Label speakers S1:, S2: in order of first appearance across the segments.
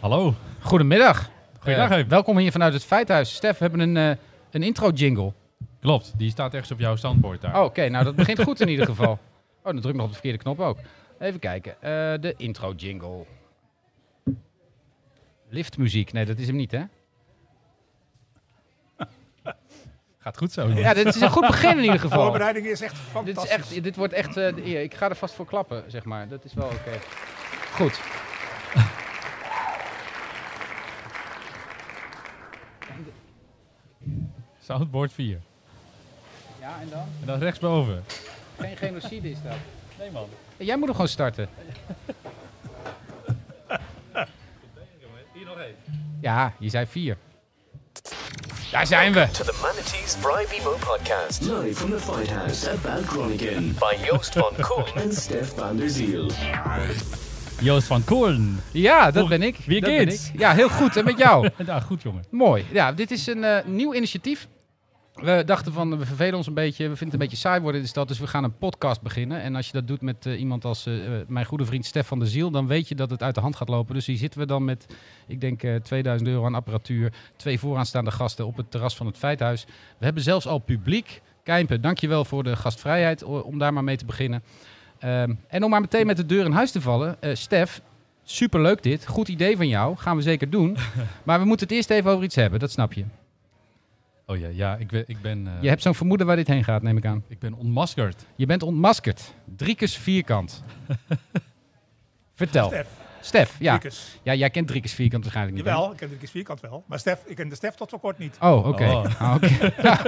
S1: Hallo.
S2: Goedemiddag.
S1: Goeiedag,
S2: Eh,
S1: Heem.
S2: welkom hier vanuit het Feithuis. Stef, we hebben een, eh, een intro-jingle.
S1: Klopt, die staat ergens op jouw standpoort daar.
S2: Oh, Oké, nou dat begint goed in ieder geval. Oh, dan druk ik nog op de verkeerde knop ook. Even kijken. Eh, de intro-jingle. Liftmuziek. Nee, dat is hem niet, hè?
S1: Gaat goed zo.
S2: Ja, dit is een goed begin in ieder
S3: De
S2: geval.
S3: voorbereiding is echt
S2: Dit, is
S3: fantastisch.
S2: echt, dit wordt echt... eh, hier, ik ga er vast voor klappen, zeg maar. Dat is wel oké. Goed.
S1: Soundboard 4.
S2: Ja, en dan?
S1: En dan rechtsboven.
S2: Geen genocide is dat. Eh,
S1: Nee man.
S2: Jij moet hem gewoon starten.
S1: Hier nog één.
S2: Ja, je zei vier. Daar zijn we.
S4: to the Manatees Brian Bemo podcast
S5: Live from the Fight House at Balgroningen
S4: by Joost van Koen.
S5: and Steph van der Ziel.
S1: Joost van Koorn.
S2: Ja, dat
S1: Hoe-
S2: ben ik.
S1: wie
S2: dat ben
S1: kids?
S2: ik. Ja, heel goed. En met jou?
S1: Ja, goed jongen.
S2: Mooi. Ja, dit is een eh, nieuw initiatief. We dachten van, we vervelen ons een beetje. We vinden het een beetje saai worden in de stad. Dus we gaan een podcast beginnen. En als je dat doet met eh, iemand als eh, eh, mijn goede vriend Stefan de Ziel... dan weet je dat het uit de hand gaat lopen. Dus hier zitten we dan met, ik denk, eh, 2000 euro aan apparatuur. Twee vooraanstaande gasten op het terras van het Feithuis. We hebben zelfs al publiek. Kijmpen, dankjewel voor de gastvrijheid o- om daar maar mee te beginnen. Ehm, en om maar meteen met de deur in huis te vallen. eh, Stef, superleuk dit. Goed idee van jou. Gaan we zeker doen. Maar we moeten het eerst even over iets hebben, dat snap je.
S1: Oh ja, ja ik ben, ik ben, eh,
S2: Je hebt zo'n vermoeden waar dit heen gaat, neem ik aan.
S1: ik ben ontmaskerd.
S2: Je bent ontmaskerd. Driekes vierkant. Vertel. Stef.
S3: Stef.
S2: ja.
S3: Driekus.
S2: Ja, jij kent driekes vierkant waarschijnlijk niet. hè?
S3: Jawel, ik ken de Driekes vierkant wel. Maar Stef, ik ken de Stef tot zo kort niet.
S2: Oh, oké.
S1: Oh.
S2: Ah, oké. Ja.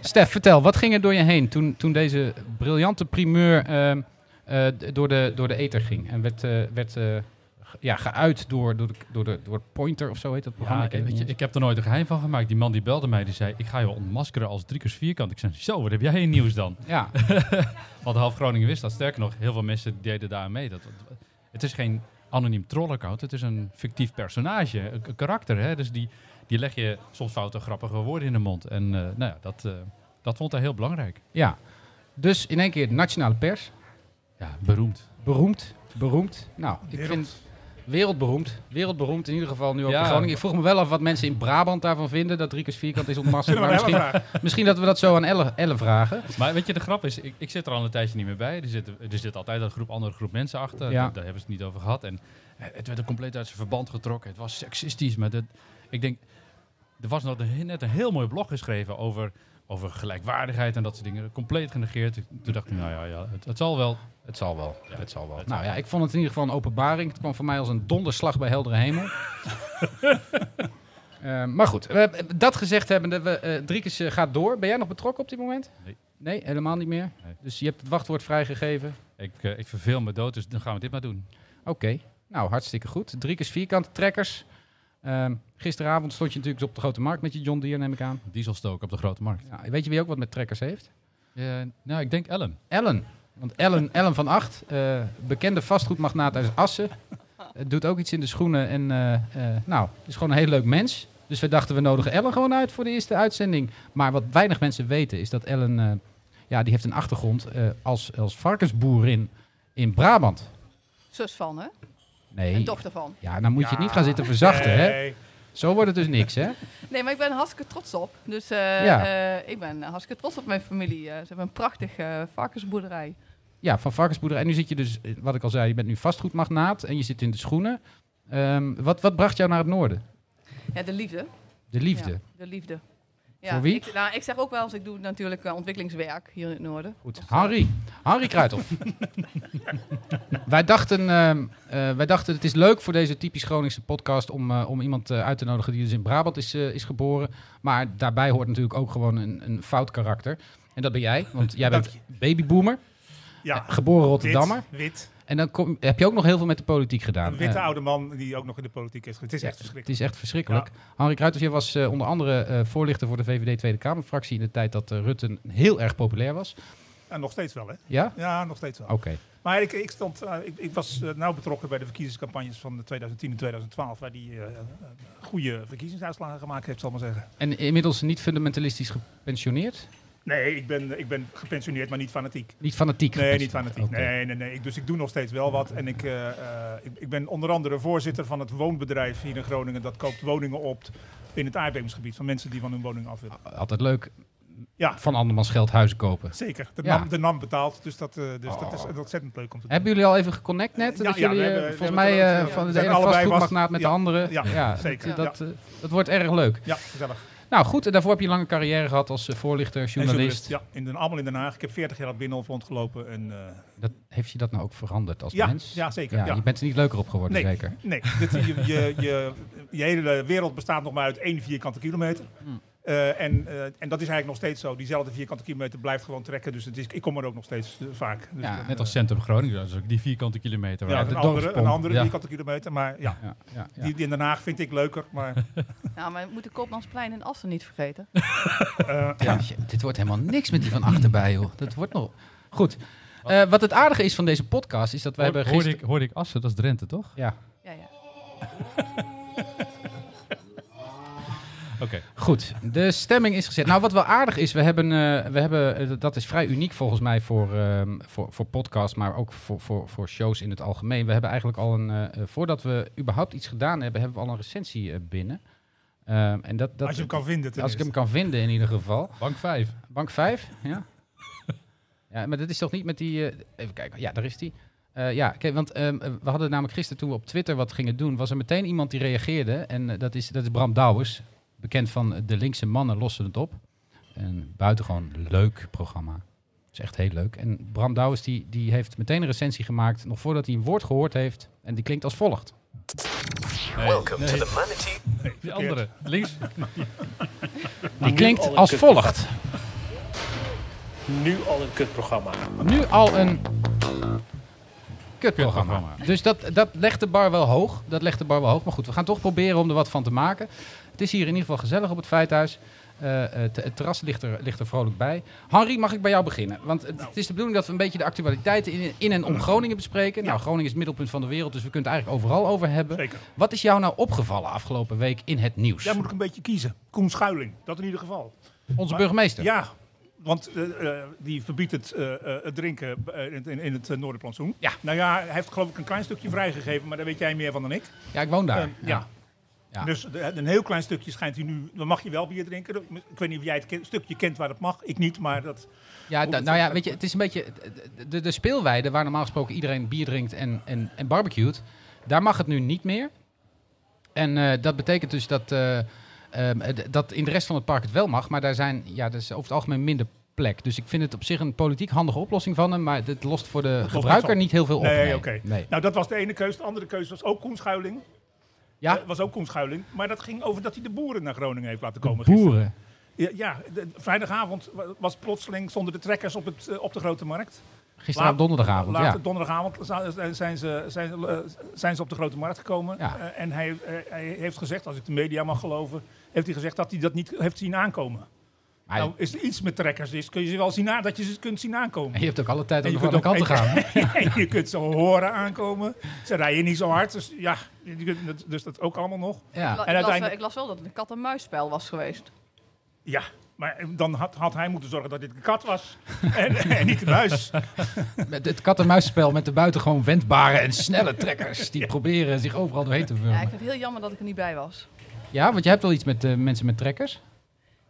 S2: Stef, vertel, wat ging er door je heen toen, toen deze briljante primeur ehm, eh, d- door, de, door de ether ging? En werd, eh, werd eh, ge- ja, geuit door, door, de, door, de, door Pointer of zo heet dat programma?
S1: Ja,
S2: ken het
S1: weet je,
S2: niet
S1: ik heb er nooit een geheim van gemaakt. Die man die belde mij, die zei, ik ga je ontmaskeren als driekers vierkant. Ik zei, zo, wat heb jij in nieuws dan?
S2: eens. ja,
S1: Want half Groningen wist dat. Sterker nog, heel veel mensen deden daar aan mee. Dat, dat- het is geen anoniem trollaccount. Het is een fictief personage, een, een karakter. Hè? Dus die, die leg je soms foute, grappige woorden in de mond. En eh, nou ja, dat, eh, dat vond hij heel belangrijk.
S2: ja. Dus in één keer nationale pers.
S1: Ja, beroemd.
S2: Beroemd. Beroemd. Nou, ik
S3: Wereld.
S2: vind wereldberoemd. Wereldberoemd in ieder geval nu ook
S1: Ja.
S2: in Groningen. Ik vroeg me wel af wat mensen in Brabant daarvan vinden. Dat Riekes vierkant is ontmaskerd.
S3: Zullen
S2: Maar
S3: we maar
S2: Nou, misschien,
S3: even vragen?
S2: misschien dat we dat zo aan Elle, Elle vragen.
S1: Maar weet je, de grap is, ik, ik zit er al een tijdje niet meer bij. Er zit, er zit altijd een groep, andere groep mensen achter.
S2: Ja.
S1: Daar, daar hebben ze het niet over gehad. En eh, het werd er compleet uit zijn verband getrokken. Het was seksistisch. Maar dat, ik denk, er was nog een- net een heel mooi blog geschreven over, over gelijkwaardigheid en dat soort dingen. Compleet genegeerd. Toen dacht ik, nou ja, ja het, het zal wel.
S2: Het zal wel. het zal wel.
S1: het
S2: nou ja, ik vond het in ieder geval een openbaring. Het kwam voor mij als een donderslag bij heldere hemel. Eh, maar goed, we- dat gezegd hebbende, we, eh Driekes eh, gaat door. Ben jij nog betrokken op dit moment?
S1: Nee.
S2: Nee, helemaal niet meer.
S1: Nee.
S2: Dus je hebt het wachtwoord vrijgegeven.
S1: Ik, eh, ik verveel me dood, dus dan gaan we dit maar doen.
S2: Oké, nou hartstikke goed. Drie keer vierkante trekkers. Ehm, gisteravond stond je natuurlijk op de grote markt met je John Deere, neem ik aan.
S1: Dieselstook op de grote markt.
S2: Ja, weet je wie ook wat met trekkers heeft?
S1: Eh, nou, ik denk Ellen.
S2: Ellen. Want Ellen, Ellen van Acht, eh, bekende vastgoedmagnaat uit Assen, eh, doet ook iets in de schoenen. En eh, eh, nou, is gewoon een heel leuk mens. Dus we dachten, we nodigen Ellen gewoon uit voor de eerste uitzending. Maar wat weinig mensen weten is dat Ellen, eh, ja, die heeft een achtergrond eh, als, als varkensboerin in Brabant.
S6: Zus van, hè?
S2: Nee.
S6: En dochter van.
S2: Ja, dan moet je het niet gaan zitten verzachten, hè?
S3: Nee.
S2: Zo wordt het dus niks, hè?
S6: Nee, maar ik ben er hartstikke trots op. Dus eh,
S2: Ja.
S6: eh, ik ben hartstikke trots op mijn familie. Eh, ze hebben een prachtige eh, varkensboerderij.
S2: Ja, van varkensboerderij. En nu zit je dus, eh, wat ik al zei, je bent nu vastgoedmagnaat en je zit in de schoenen. Ehm, wat, wat bracht jou naar het noorden?
S6: Ja, de liefde.
S2: De liefde.
S6: Ja, de liefde. Ja,
S2: Voor wie?
S6: Ik, nou, ik zeg ook wel eens, ik doe natuurlijk eh, ontwikkelingswerk hier in het noorden.
S2: Goed. Harry. Harry Kruithof. wij, dachten, ehm, eh, wij dachten, het is leuk voor deze typisch Groningse podcast om, eh, om iemand eh, uit te nodigen die dus in Brabant is, eh, is geboren. Maar daarbij hoort natuurlijk ook gewoon een, een fout karakter. En dat ben jij, want jij
S3: Dank
S2: bent babyboomer,
S3: Ja,
S2: geboren Eh, Rotterdammer.
S3: Wit, wit.
S2: En dan kom, heb je ook nog heel veel met de politiek gedaan.
S3: Een witte
S2: Eh,
S3: oude man die ook nog in de politiek is. Het is echt
S2: Het
S3: verschrikkelijk.
S2: is echt verschrikkelijk. Henri Kruijters, jij was eh, onder andere eh, voorlichter voor de VVD Tweede Kamerfractie in de tijd dat eh, Rutte heel erg populair was.
S3: En nog steeds wel, hè?
S2: Ja?
S3: Ja, nog steeds wel.
S2: Oké.
S3: Maar ik, ik, stond, eh, ik, ik was eh, nauw betrokken bij de verkiezingscampagnes van de 2010 en 2012, waar die eh, eh, goede verkiezingsuitslagen gemaakt heeft, zal ik maar zeggen.
S2: En inmiddels niet fundamentalistisch gepensioneerd?
S3: Nee, ik ben, ik ben gepensioneerd, maar niet fanatiek.
S2: Niet fanatiek.
S3: Nee, niet fanatiek.
S2: Oké.
S3: Nee, nee, nee. Ik- Dus ik doe nog steeds wel wat. En ik, eh, eh, ik, ik ben onder andere voorzitter van het woonbedrijf hier in Groningen. Dat koopt woningen op in het aardbevingsgebied van mensen die van hun woning af willen.
S2: Altijd leuk
S3: Ja.
S2: van andermans geld huizen kopen.
S3: Zeker. De,
S2: Ja.
S3: NAM, de NAM betaalt, dus dat, eh, dus dat is ontzettend leuk om te doen.
S2: Hebben jullie al even geconnect net?
S3: Ja,
S2: dat
S3: ja, we
S2: jullie eh,
S3: hebben- we
S2: volgens
S3: hebben
S2: mij
S3: het al-
S2: eh,
S3: ja,
S2: van
S3: we
S2: de
S3: zijn
S2: ene
S3: allebei
S2: vastgoedmagnaat
S3: vast-
S2: met
S3: ja,
S2: de andere.
S3: ja,
S2: dat-
S3: zeker,
S2: Dat, eh, dat wordt erg leuk.
S3: Ja, gezellig.
S2: Nou goed, en daarvoor heb je een lange carrière gehad als eh, voorlichter,
S3: En
S2: journalist.
S3: Ja, in Den, allemaal in Den Haag. Ik heb 40 jaar op Binnenhof rondgelopen. En, eh,
S2: Dat, heeft je dat nou ook veranderd als
S3: ja,
S2: mens?
S3: ja, zeker. Ja,
S2: Je bent er niet leuker op geworden,
S3: Nee,
S2: zeker.
S3: nee. Dit- je, je, je, je hele wereld bestaat nog maar uit één vierkante kilometer. Eh, en, eh, en dat is eigenlijk nog steeds zo. Diezelfde vierkante kilometer blijft gewoon trekken. Dus het is, ik kom er ook nog steeds eh, vaak. Dus
S2: Ja,
S3: dat,
S1: Net
S3: eh,
S1: als Centrum Groningen, dat is ook die vierkante kilometer.
S3: ja,
S1: waar
S3: een,
S1: de
S3: andere, een
S1: dorpspomp-
S3: andere
S1: ja.
S3: vierkante kilometer. Maar ja,
S2: Ja, ja, ja.
S3: die, die in Den Haag vind ik leuker. Maar
S6: Nou, maar we moeten Koopmansplein en Assen niet vergeten.
S2: Ja, shit, dit wordt helemaal niks met die van achterbij, joh. Dat wordt nog... Goed. Eh, wat het aardige is van deze podcast, is dat we
S1: Hoor-
S2: hebben
S1: hoorde,
S2: gisteren...
S1: ik, hoorde ik Assen, dat is Drenthe, toch?
S2: Ja,
S6: Ja, ja.
S1: Oké.
S2: Goed, de stemming is gezet. Nou, wat wel aardig is, we hebben, eh, we hebben eh, dat is vrij uniek volgens mij voor, ehm voor, voor podcasts, maar ook voor, voor, voor shows in het algemeen. We hebben eigenlijk al een, eh, eh, voordat we überhaupt iets gedaan hebben, hebben we al een recensie eh, binnen. Ehm, en dat, dat,
S3: als je hem kan vinden
S2: als ik
S3: tenminste.
S2: hem kan vinden in ieder geval.
S1: Bank 5.
S2: Bank 5, ja. ja, maar dat is toch niet met die... eh, even kijken, ja, daar is die. Eh, ja, kijk, want ehm, we hadden namelijk gisteren toen we op Twitter wat gingen doen... was er meteen iemand die reageerde. En eh, dat, is, dat is Bram Douwers, bekend van eh, De Linkse Mannen Lossen Het Op. Een buitengewoon leuk programma. is echt heel leuk. En Bram Douwers die, die heeft meteen een recensie gemaakt... nog voordat hij een woord gehoord heeft. En die klinkt als volgt.
S4: Welcome to the Manatee
S1: Die andere, links.
S2: Die klinkt als volgt.
S7: nu al een kutprogramma.
S2: nu al een kutprogramma. Dus dat, dat legt de bar wel hoog. Dat legt de bar wel hoog. Maar goed, we gaan toch proberen om er wat van te maken. Het is hier in ieder geval gezellig op het Feithuis. Eh, het, het terras ligt er, ligt er vrolijk bij. Henri, mag ik bij jou beginnen? Want het, het is de bedoeling dat we een beetje de actualiteiten in, in en om Groningen bespreken. Nou, Groningen is het middelpunt van de wereld, dus we kunnen het eigenlijk overal over hebben.
S3: Zeker.
S2: Wat is jou nou opgevallen afgelopen week in het nieuws?
S3: Daar moet ik een beetje kiezen. Koen Schuiling, dat in ieder geval.
S2: Onze
S3: maar-
S2: burgemeester.
S3: Ja, want eh, eh, die verbiedt het, eh, eh, het drinken eh, in, in- in het eh, Noorderplantsoen.
S2: Ja.
S3: Nou ja, hij heeft geloof ik een klein stukje vrijgegeven, maar daar weet jij meer van dan ik.
S2: Ja, ik woon daar.
S3: Ehm, ja.
S2: Ja.
S3: Dus de- een heel klein stukje schijnt hij nu. Dan mag je wel bier drinken. Ik weet niet of jij het ken- stukje kent waar dat mag. Ik niet, maar dat.
S2: Ja,
S3: Hoe
S2: da-
S3: dat-
S2: nou ja, weet je, het is een beetje... De, de speelweide waar normaal gesproken iedereen bier drinkt en, en, en barbecued... daar mag het nu niet meer. En eh, dat betekent dus dat, eh, ehm, d- dat in de rest van het park het wel mag... maar daar zijn, ja, er is over het algemeen minder plek. Dus ik vind het op zich een politiek handige oplossing van hem... maar het lost voor de gebruiker
S3: op.
S2: niet heel veel op.
S3: nee, oké.
S2: nee.
S3: Nou, dat was de ene keuze. De andere keuze was ook Koen Schuiling.
S2: Ja?
S3: Eh, was ook Koen Schuiling. Maar dat ging over dat hij de boeren naar Groningen heeft laten komen. gisteren.
S1: Boeren.
S3: Ja, ja de- vrijdagavond wa- was plotseling stonden de trekkers op, het, eh, op de grote markt.
S2: Gisteravond
S3: Laat-
S2: donderdagavond,
S3: Later
S2: ja.
S3: donderdagavond za- eh, zijn ze, zijn, eh, zijn ze op de grote markt gekomen.
S2: Ja.
S3: Eh, en hij, eh, hij heeft gezegd, als ik de media mag geloven, heeft hij gezegd dat hij dat niet heeft zien aankomen.
S2: Maar
S3: Nou, is er iets met trekkers is, kun je ze wel zien aan, dat je ze kunt zien aankomen.
S2: je hebt ook alle tijd
S3: En
S2: om
S3: je
S2: van de
S3: kunt
S2: kant te
S3: ook-
S2: gaan.
S3: En je kunt ze horen aankomen. Ze rijden niet zo hard, dus ja, je kunt dat- dus dat ook allemaal nog.
S6: Ik, la-
S2: Ja.
S3: En
S6: ik las,
S3: uiteindelijk-
S6: eh, ik las wel dat het een kat-en-muisspel was geweest.
S3: Ja, maar dan had, had hij moeten zorgen dat dit een kat was en, en niet een muis.
S2: Met Het kat-en-muisspel met de buitengewoon wendbare en snelle trekkers... die proberen zich overal doorheen te
S6: Ja,
S2: wurmen.
S6: ik vind het heel jammer dat ik er niet bij was.
S2: Ja, want jij hebt wel iets met eh, mensen met trekkers.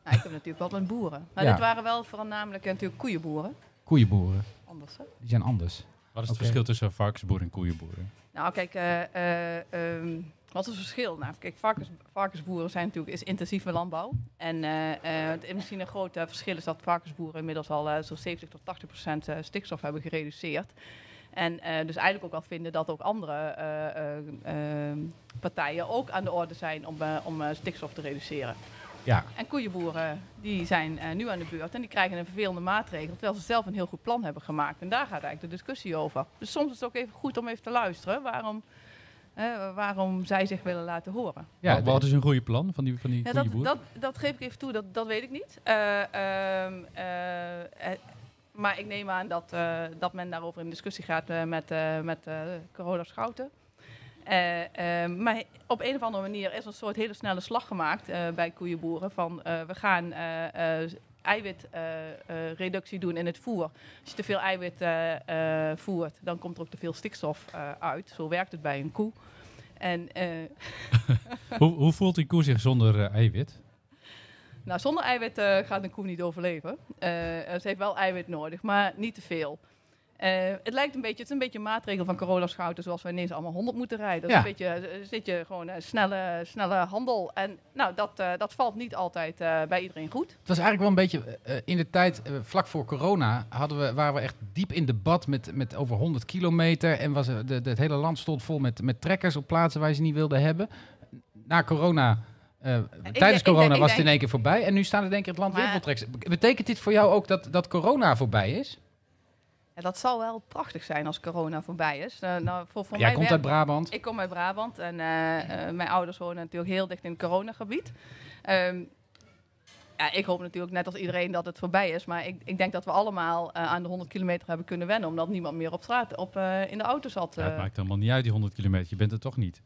S6: Nou, ik heb natuurlijk wat met boeren. Nou,
S2: Ja.
S6: dit waren wel voornamelijk eh, natuurlijk koeienboeren.
S2: Koeienboeren,
S6: Anders, hè?
S2: die zijn anders.
S1: Wat is het
S2: Oké.
S1: verschil tussen varkensboeren en koeienboeren?
S6: Nou, kijk, eh, eh, ehm, wat is het verschil? Nou, kijk, varkens, varkensboeren zijn natuurlijk is intensief met landbouw. En eh, eh, het, misschien een groot eh, verschil is dat varkensboeren inmiddels al eh, zo'n 70 tot 80 procent eh, stikstof hebben gereduceerd. En eh, dus eigenlijk ook al vinden dat ook andere eh, eh, ehm, partijen ook aan de orde zijn om, eh, om eh, stikstof te reduceren.
S2: Ja,
S6: En koeienboeren die zijn eh, nu aan de beurt en die krijgen een vervelende maatregel, terwijl ze zelf een heel goed plan hebben gemaakt. En daar gaat eigenlijk de discussie over. Dus soms is het ook even goed om even te luisteren waarom, eh, waarom zij zich willen laten horen.
S1: Ja,
S2: ja,
S1: wat, is
S2: de-
S1: dus een goede plan van die, van die
S6: Ja, dat,
S1: koeienboeren?
S6: dat, dat geef ik even toe, dat, dat weet ik niet. Eh, ehm, eh, eh, maar ik neem aan dat, eh, dat men daarover in discussie gaat eh, met, eh met eh, Carola Schouten. Eh, eh, maar op een of andere manier is er een soort hele snelle slag gemaakt eh, bij koeienboeren. Van eh, we gaan eh, eh, eiwitreductie doen in het voer. Als je te veel eiwit eh, eh, voert, dan komt er ook te veel stikstof eh, uit. Zo werkt het bij een koe. En eh,
S1: Hoe, hoe voelt die koe zich zonder eh, eiwit?
S6: Nou, zonder eiwit eh, gaat een koe niet overleven. Eh, eh, ze heeft wel eiwit nodig, maar niet te veel. Eh, het lijkt een beetje, het is een beetje een maatregel van corona schouten, zoals we ineens allemaal 100 moeten rijden. Dat is
S2: Ja.
S6: een beetje, eh, zit je gewoon eh, snelle, snelle handel. En nou, dat, eh, dat valt niet altijd eh, bij iedereen goed.
S2: Het was eigenlijk wel een beetje eh, in de tijd, eh, vlak voor corona, hadden we, waren we echt diep in debat met, met over 100 kilometer. En was, eh, de, de- het hele land stond vol met, met trekkers op plaatsen waar je ze niet wilden hebben. Na corona, eh,
S6: denk-
S2: tijdens
S6: ik
S2: corona
S6: denk- ik
S2: was het in
S6: denk-
S2: één keer voorbij. En nu staan er denk ik in het land weer
S6: Maar-
S2: vol trekkers. Bet- Betekent dit voor jou ook dat, dat corona voorbij is?
S6: En dat zal wel prachtig zijn als corona voorbij is. Eh, nou, voor, voor
S2: Jij
S6: mij
S2: komt
S6: werkt-
S2: uit Brabant.
S6: Ik kom uit Brabant en eh, eh, mijn ouders wonen natuurlijk heel dicht in het coronagebied. Ehm, ja, ik hoop natuurlijk net als iedereen dat het voorbij is. Maar ik, ik denk dat we allemaal eh, aan de 100 kilometer hebben kunnen wennen. Omdat niemand meer op straat op, eh, in de auto zat.
S1: Ja, het
S6: Eh,
S1: maakt helemaal niet uit, die 100 kilometer. Je bent er toch niet.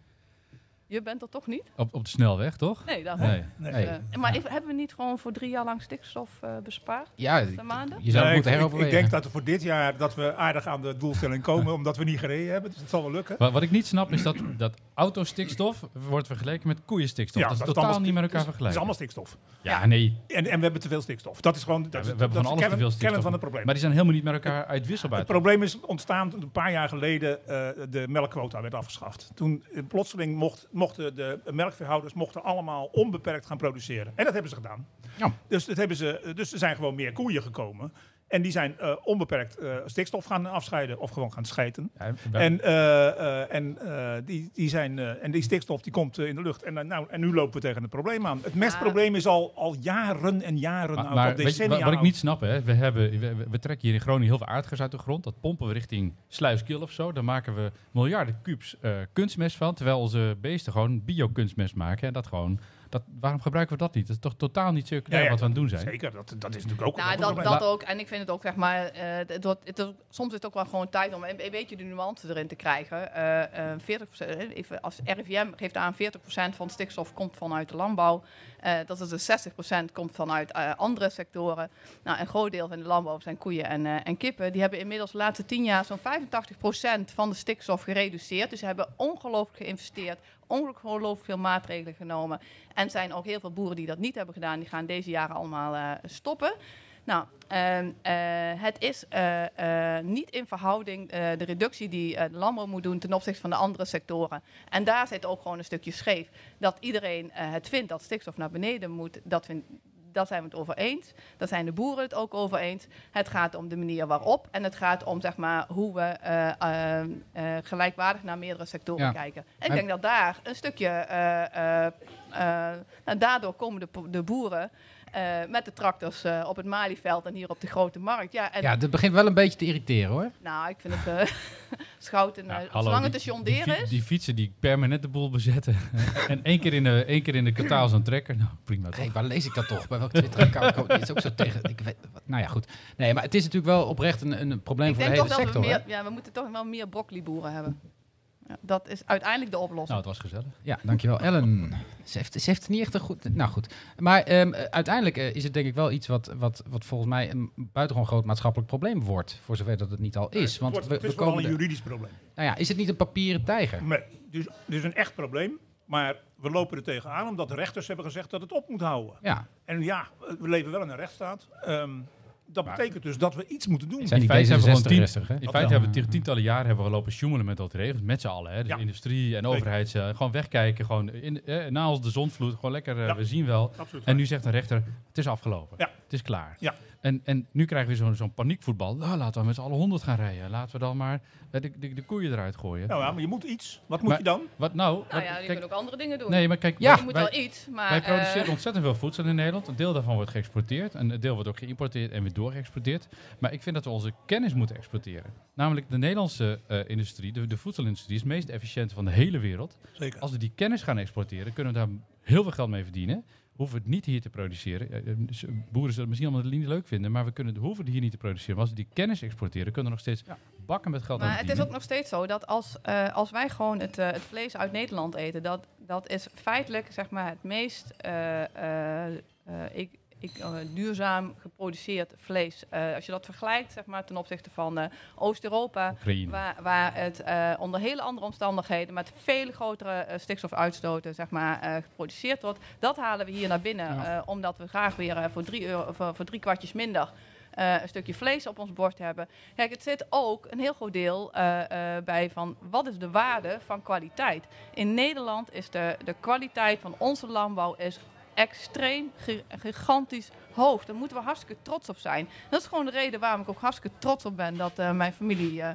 S6: je bent er toch niet?
S1: Op, op de snelweg, toch?
S6: Nee, daarom.
S1: Nee.
S2: Nee.
S6: Eh, maar even- hebben we niet gewoon voor drie jaar lang stikstof eh, bespaard?
S2: Ja,
S6: De maanden?
S2: je zou het moeten
S3: Nee, Eh, ik, ik, ik
S2: heroverwegen.
S3: denk dat we voor dit jaar dat we aardig aan de doelstelling komen, omdat we niet gereden hebben. Dus het zal wel lukken.
S1: Wat, wat ik niet snap is dat, dat autostikstof wordt vergeleken met koeienstikstof.
S3: Ja,
S1: dat is
S3: dat is
S1: totaal
S3: allemaal
S1: niet met elkaar
S3: Het is
S1: vergelijken.
S3: allemaal stikstof.
S1: ja, nee.
S3: En, en we hebben te veel stikstof. Dat is gewoon dat,
S1: Ja,
S3: is-
S1: we, we
S3: dat
S1: hebben van
S3: is
S1: alles
S3: kern,
S1: te veel
S3: kern
S1: stikstof.
S3: van het probleem.
S1: Maar die zijn helemaal niet met elkaar uitwisselbaar.
S3: Het probleem is ontstaan toen een paar jaar geleden eh, de melkquota werd afgeschaft. Toen eh, plotseling mocht, mochten de melkveehouders mochten allemaal onbeperkt gaan produceren. En dat hebben ze gedaan.
S2: Ja.
S3: Dus, dat hebben ze, dus er zijn gewoon meer koeien gekomen. En die zijn eh, onbeperkt eh, stikstof gaan afscheiden of gewoon gaan schijten.
S1: Ja, we-
S3: En, eh, eh, en, eh, die, die zijn, eh, en die stikstof die komt eh, in de lucht. En, eh, nou, en nu lopen we tegen het probleem aan. Het mestprobleem is al, al jaren en jaren
S1: Maar,
S3: oud,
S1: maar
S3: al
S1: weet je,
S3: decennia
S1: wat, wat ik
S3: oud.
S1: niet snap, hè, we, hebben, we, we- we trekken hier in Groningen heel veel aardgas uit de grond. Dat pompen we richting Sluiskil of zo. Daar maken we miljarden kubus eh, kunstmest van. Terwijl onze beesten gewoon biokunstmest maken. En dat gewoon, dat, waarom gebruiken we dat niet? Dat is toch totaal niet circulair
S3: Ja, ja,
S1: wat we aan het doen zijn.
S3: Zeker, dat, dat is natuurlijk ook
S6: Nou,
S3: een
S6: dat,
S3: probleem.
S6: dat ook. En ik vind het ook, zeg maar, eh, het wordt, het, is- soms is het ook wel gewoon tijd om een, een beetje de nuance erin te krijgen. Eh, eh, 40%, even als RIVM geeft aan, 40% van stikstof komt vanuit de landbouw. Eh, dat is dus 60% komt vanuit eh, andere sectoren. Nou, een groot deel van de landbouw zijn koeien en, eh, en kippen. Die hebben inmiddels de laatste 10 jaar zo'n 85% van de stikstof gereduceerd. Dus ze hebben ongelooflijk geïnvesteerd, ongelooflijk veel maatregelen genomen. En zijn ook heel veel boeren die dat niet hebben gedaan, die gaan deze jaren allemaal eh, stoppen. Nou, ehm, eh, het is eh, eh, niet in verhouding eh, de reductie die eh, de landbouw moet doen ten opzichte van de andere sectoren. En daar zit ook gewoon een stukje scheef. Dat iedereen eh, het vindt dat stikstof naar beneden moet, dat vindt. Daar zijn we het over eens. Daar zijn de boeren het ook over eens. Het gaat om de manier waarop. En het gaat om zeg maar, hoe we eh, ehm, eh, gelijkwaardig naar meerdere sectoren
S2: Ja.
S6: kijken. En ik
S2: En-
S6: denk dat daar een stukje. eh, eh, eh, nou, daardoor komen de, po- de boeren eh, met de tractors eh, op het Malieveld en hier op de Grote Markt. Ja, en,
S2: Ja, dat begint wel een beetje te irriteren hoor.
S6: nou, ik vind het eh schout en
S1: Ja,
S6: eh,
S1: hallo,
S6: zolang
S1: die-
S6: het een John
S1: die
S6: Deere
S1: fi-
S6: is.
S1: Die fietsen die permanent de boel bezetten. en één keer in de, één keer in de kataal zo'n trekker. Nou, prima toch?
S2: Hey, waar lees ik dat toch? Bij welk Twitter-account? komt- Dit is ook zo tegen. Ik weet, wat- nou ja, goed. Nee, maar het is natuurlijk wel oprecht een, een probleem
S6: Ik
S2: voor de
S6: denk
S2: hele
S6: toch dat
S2: sector.
S6: we
S2: hè?
S6: meer, ja, we moeten toch wel meer broccoliboeren hebben. Ja, dat is uiteindelijk de
S1: Nou,
S6: oplossing.
S1: het was gezellig.
S2: Ja, dankjewel. Ellen. Ze heeft, ze heeft het niet echt een goed. Nou goed. Maar ehm, eh, uiteindelijk eh, is het denk ik wel iets wat, wat, wat volgens mij een buitengewoon groot maatschappelijk probleem wordt. Voor zover dat het niet al is. Want
S3: het wordt,
S2: we,
S3: het
S2: we
S3: is vooral
S2: komen.
S3: een
S2: er-
S3: juridisch probleem.
S2: Nou ja, is het niet een papieren tijger?
S3: Nee, dus, dus een echt probleem. Maar we lopen er tegenaan omdat de rechters hebben gezegd dat het op moet houden.
S2: Ja.
S3: En ja, we leven wel in een rechtsstaat. Ehm, dat betekent dus dat we iets moeten doen.
S2: Zijn
S1: In
S2: die
S1: feite hebben we gewoon tien,
S2: D66, hè?
S1: in feite
S3: Dat wel.
S1: hebben we tegen tientallen jaren hebben we lopen sjoemelen met dat regels. Met z'n allen. Hè? Dus
S3: Ja.
S1: industrie en
S3: Zeker.
S1: overheid. eh, gewoon wegkijken. Gewoon in, eh, na ons de zonvloed. Gewoon lekker, eh,
S3: Ja.
S1: we zien wel.
S3: Absoluut.
S1: En nu zegt een rechter, het is afgelopen.
S3: Ja.
S1: Het is klaar.
S3: Ja.
S1: En, en nu krijgen we zo'n zo'n paniekvoetbal. Nou, laten we met z'n allen 100 gaan rijden. Laten we dan maar eh, de, de, de koeien eruit gooien.
S3: Nou ja, maar je moet iets. Wat moet
S1: Maar-
S3: je dan?
S1: Wat nou?
S6: Nou
S1: Wat-
S6: ja, je
S1: kijk,
S6: kunt ook andere dingen doen.
S1: nee, maar kijk,
S2: Ja.
S1: ja,
S6: je moet
S1: wij,
S6: wel iets, maar...
S1: wij
S6: eh,
S1: produceren ontzettend veel voedsel in Nederland. Een deel daarvan wordt geëxporteerd. En een deel wordt ook geïmporteerd en weer doorgeëxporteerd. Maar ik vind dat we onze kennis moeten exporteren. Namelijk de Nederlandse eh, industrie, de, de voedselindustrie, is het meest efficiënte van de hele wereld.
S3: Zeker.
S1: Als we die kennis gaan exporteren, kunnen we daar heel veel geld mee verdienen. Hoeven we het niet hier te produceren. Eh, eh, dus Boeren zullen het misschien allemaal niet leuk vinden, maar we kunnen, het- hoeven het hier niet te produceren. Maar als we die kennis exporteren, kunnen we nog steeds bakken met geld aan
S6: Maar het is
S1: verdienen.
S6: ook nog steeds zo dat als, eh, als wij gewoon het, eh, het vlees uit Nederland eten, dat, dat is feitelijk zeg maar, het meest eh, eh, eh, e- ik, eh, duurzaam geproduceerd vlees. Eh, als je dat vergelijkt zeg maar, ten opzichte van eh, Oost-Europa,
S1: Oekraïne.
S6: Waar, waar het eh, onder hele andere omstandigheden met veel grotere eh, stikstofuitstoten zeg maar, eh, geproduceerd wordt. Dat halen we hier naar binnen,
S2: Ja.
S6: eh, omdat we graag weer eh, voor, drie euro, voor, voor drie kwartjes minder eh, een stukje vlees op ons bord hebben. Kijk, het zit ook een heel groot deel eh, eh, bij van wat is de waarde van kwaliteit. In Nederland is de, de kwaliteit van onze landbouw is extreem gi- gigantisch hoog. Daar moeten we hartstikke trots op zijn. Dat is gewoon de reden waarom ik ook hartstikke trots op ben dat eh, mijn familie eh,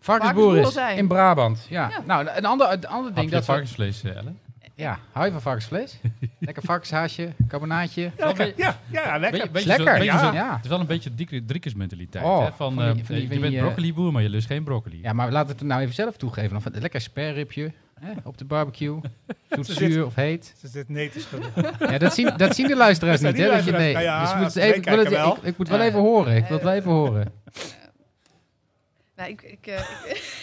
S2: Varkensboer is
S6: Varkensboer zijn.
S2: in Brabant. Ja.
S6: Ja.
S2: Nou, een ander, een ander
S1: Had je
S2: ding dat we,
S1: varkensvlees, eh, Ellen?
S2: ja, hou je van varkensvlees? Lekker varkenshaasje, carbonaatje.
S3: Ja, lekker. Ja, ja, lekker.
S1: Beetje- beetje
S2: Lekker,
S1: zo- beetje
S2: ja.
S1: zo-
S2: Ja.
S1: Het is wel een beetje die driekers-mentaliteit.
S2: Oh,
S1: hè? Van,
S2: van die-
S1: eh,
S2: van die-
S1: je
S2: van
S1: bent
S2: die, eh,
S1: broccoliboer, maar je lust geen broccoli.
S2: Ja, maar laten we het nou even zelf toegeven. Of een lekker sperripje hè, op de barbecue. Zoet, zuur of heet.
S3: Ze zit nee te schudden.
S2: Ja, dat, zien, dat zien de luisteraars
S3: Dat
S2: niet, hè?
S3: zien
S2: Dat je, nee.
S3: luisteraars. Nou ja,
S2: dus je moet
S3: als ze
S2: even, ik, wil het,
S3: meekijken
S2: ik, ik moet wel even horen. Ik wil het wel even horen.
S6: Nou, ik, ik, eh, ik,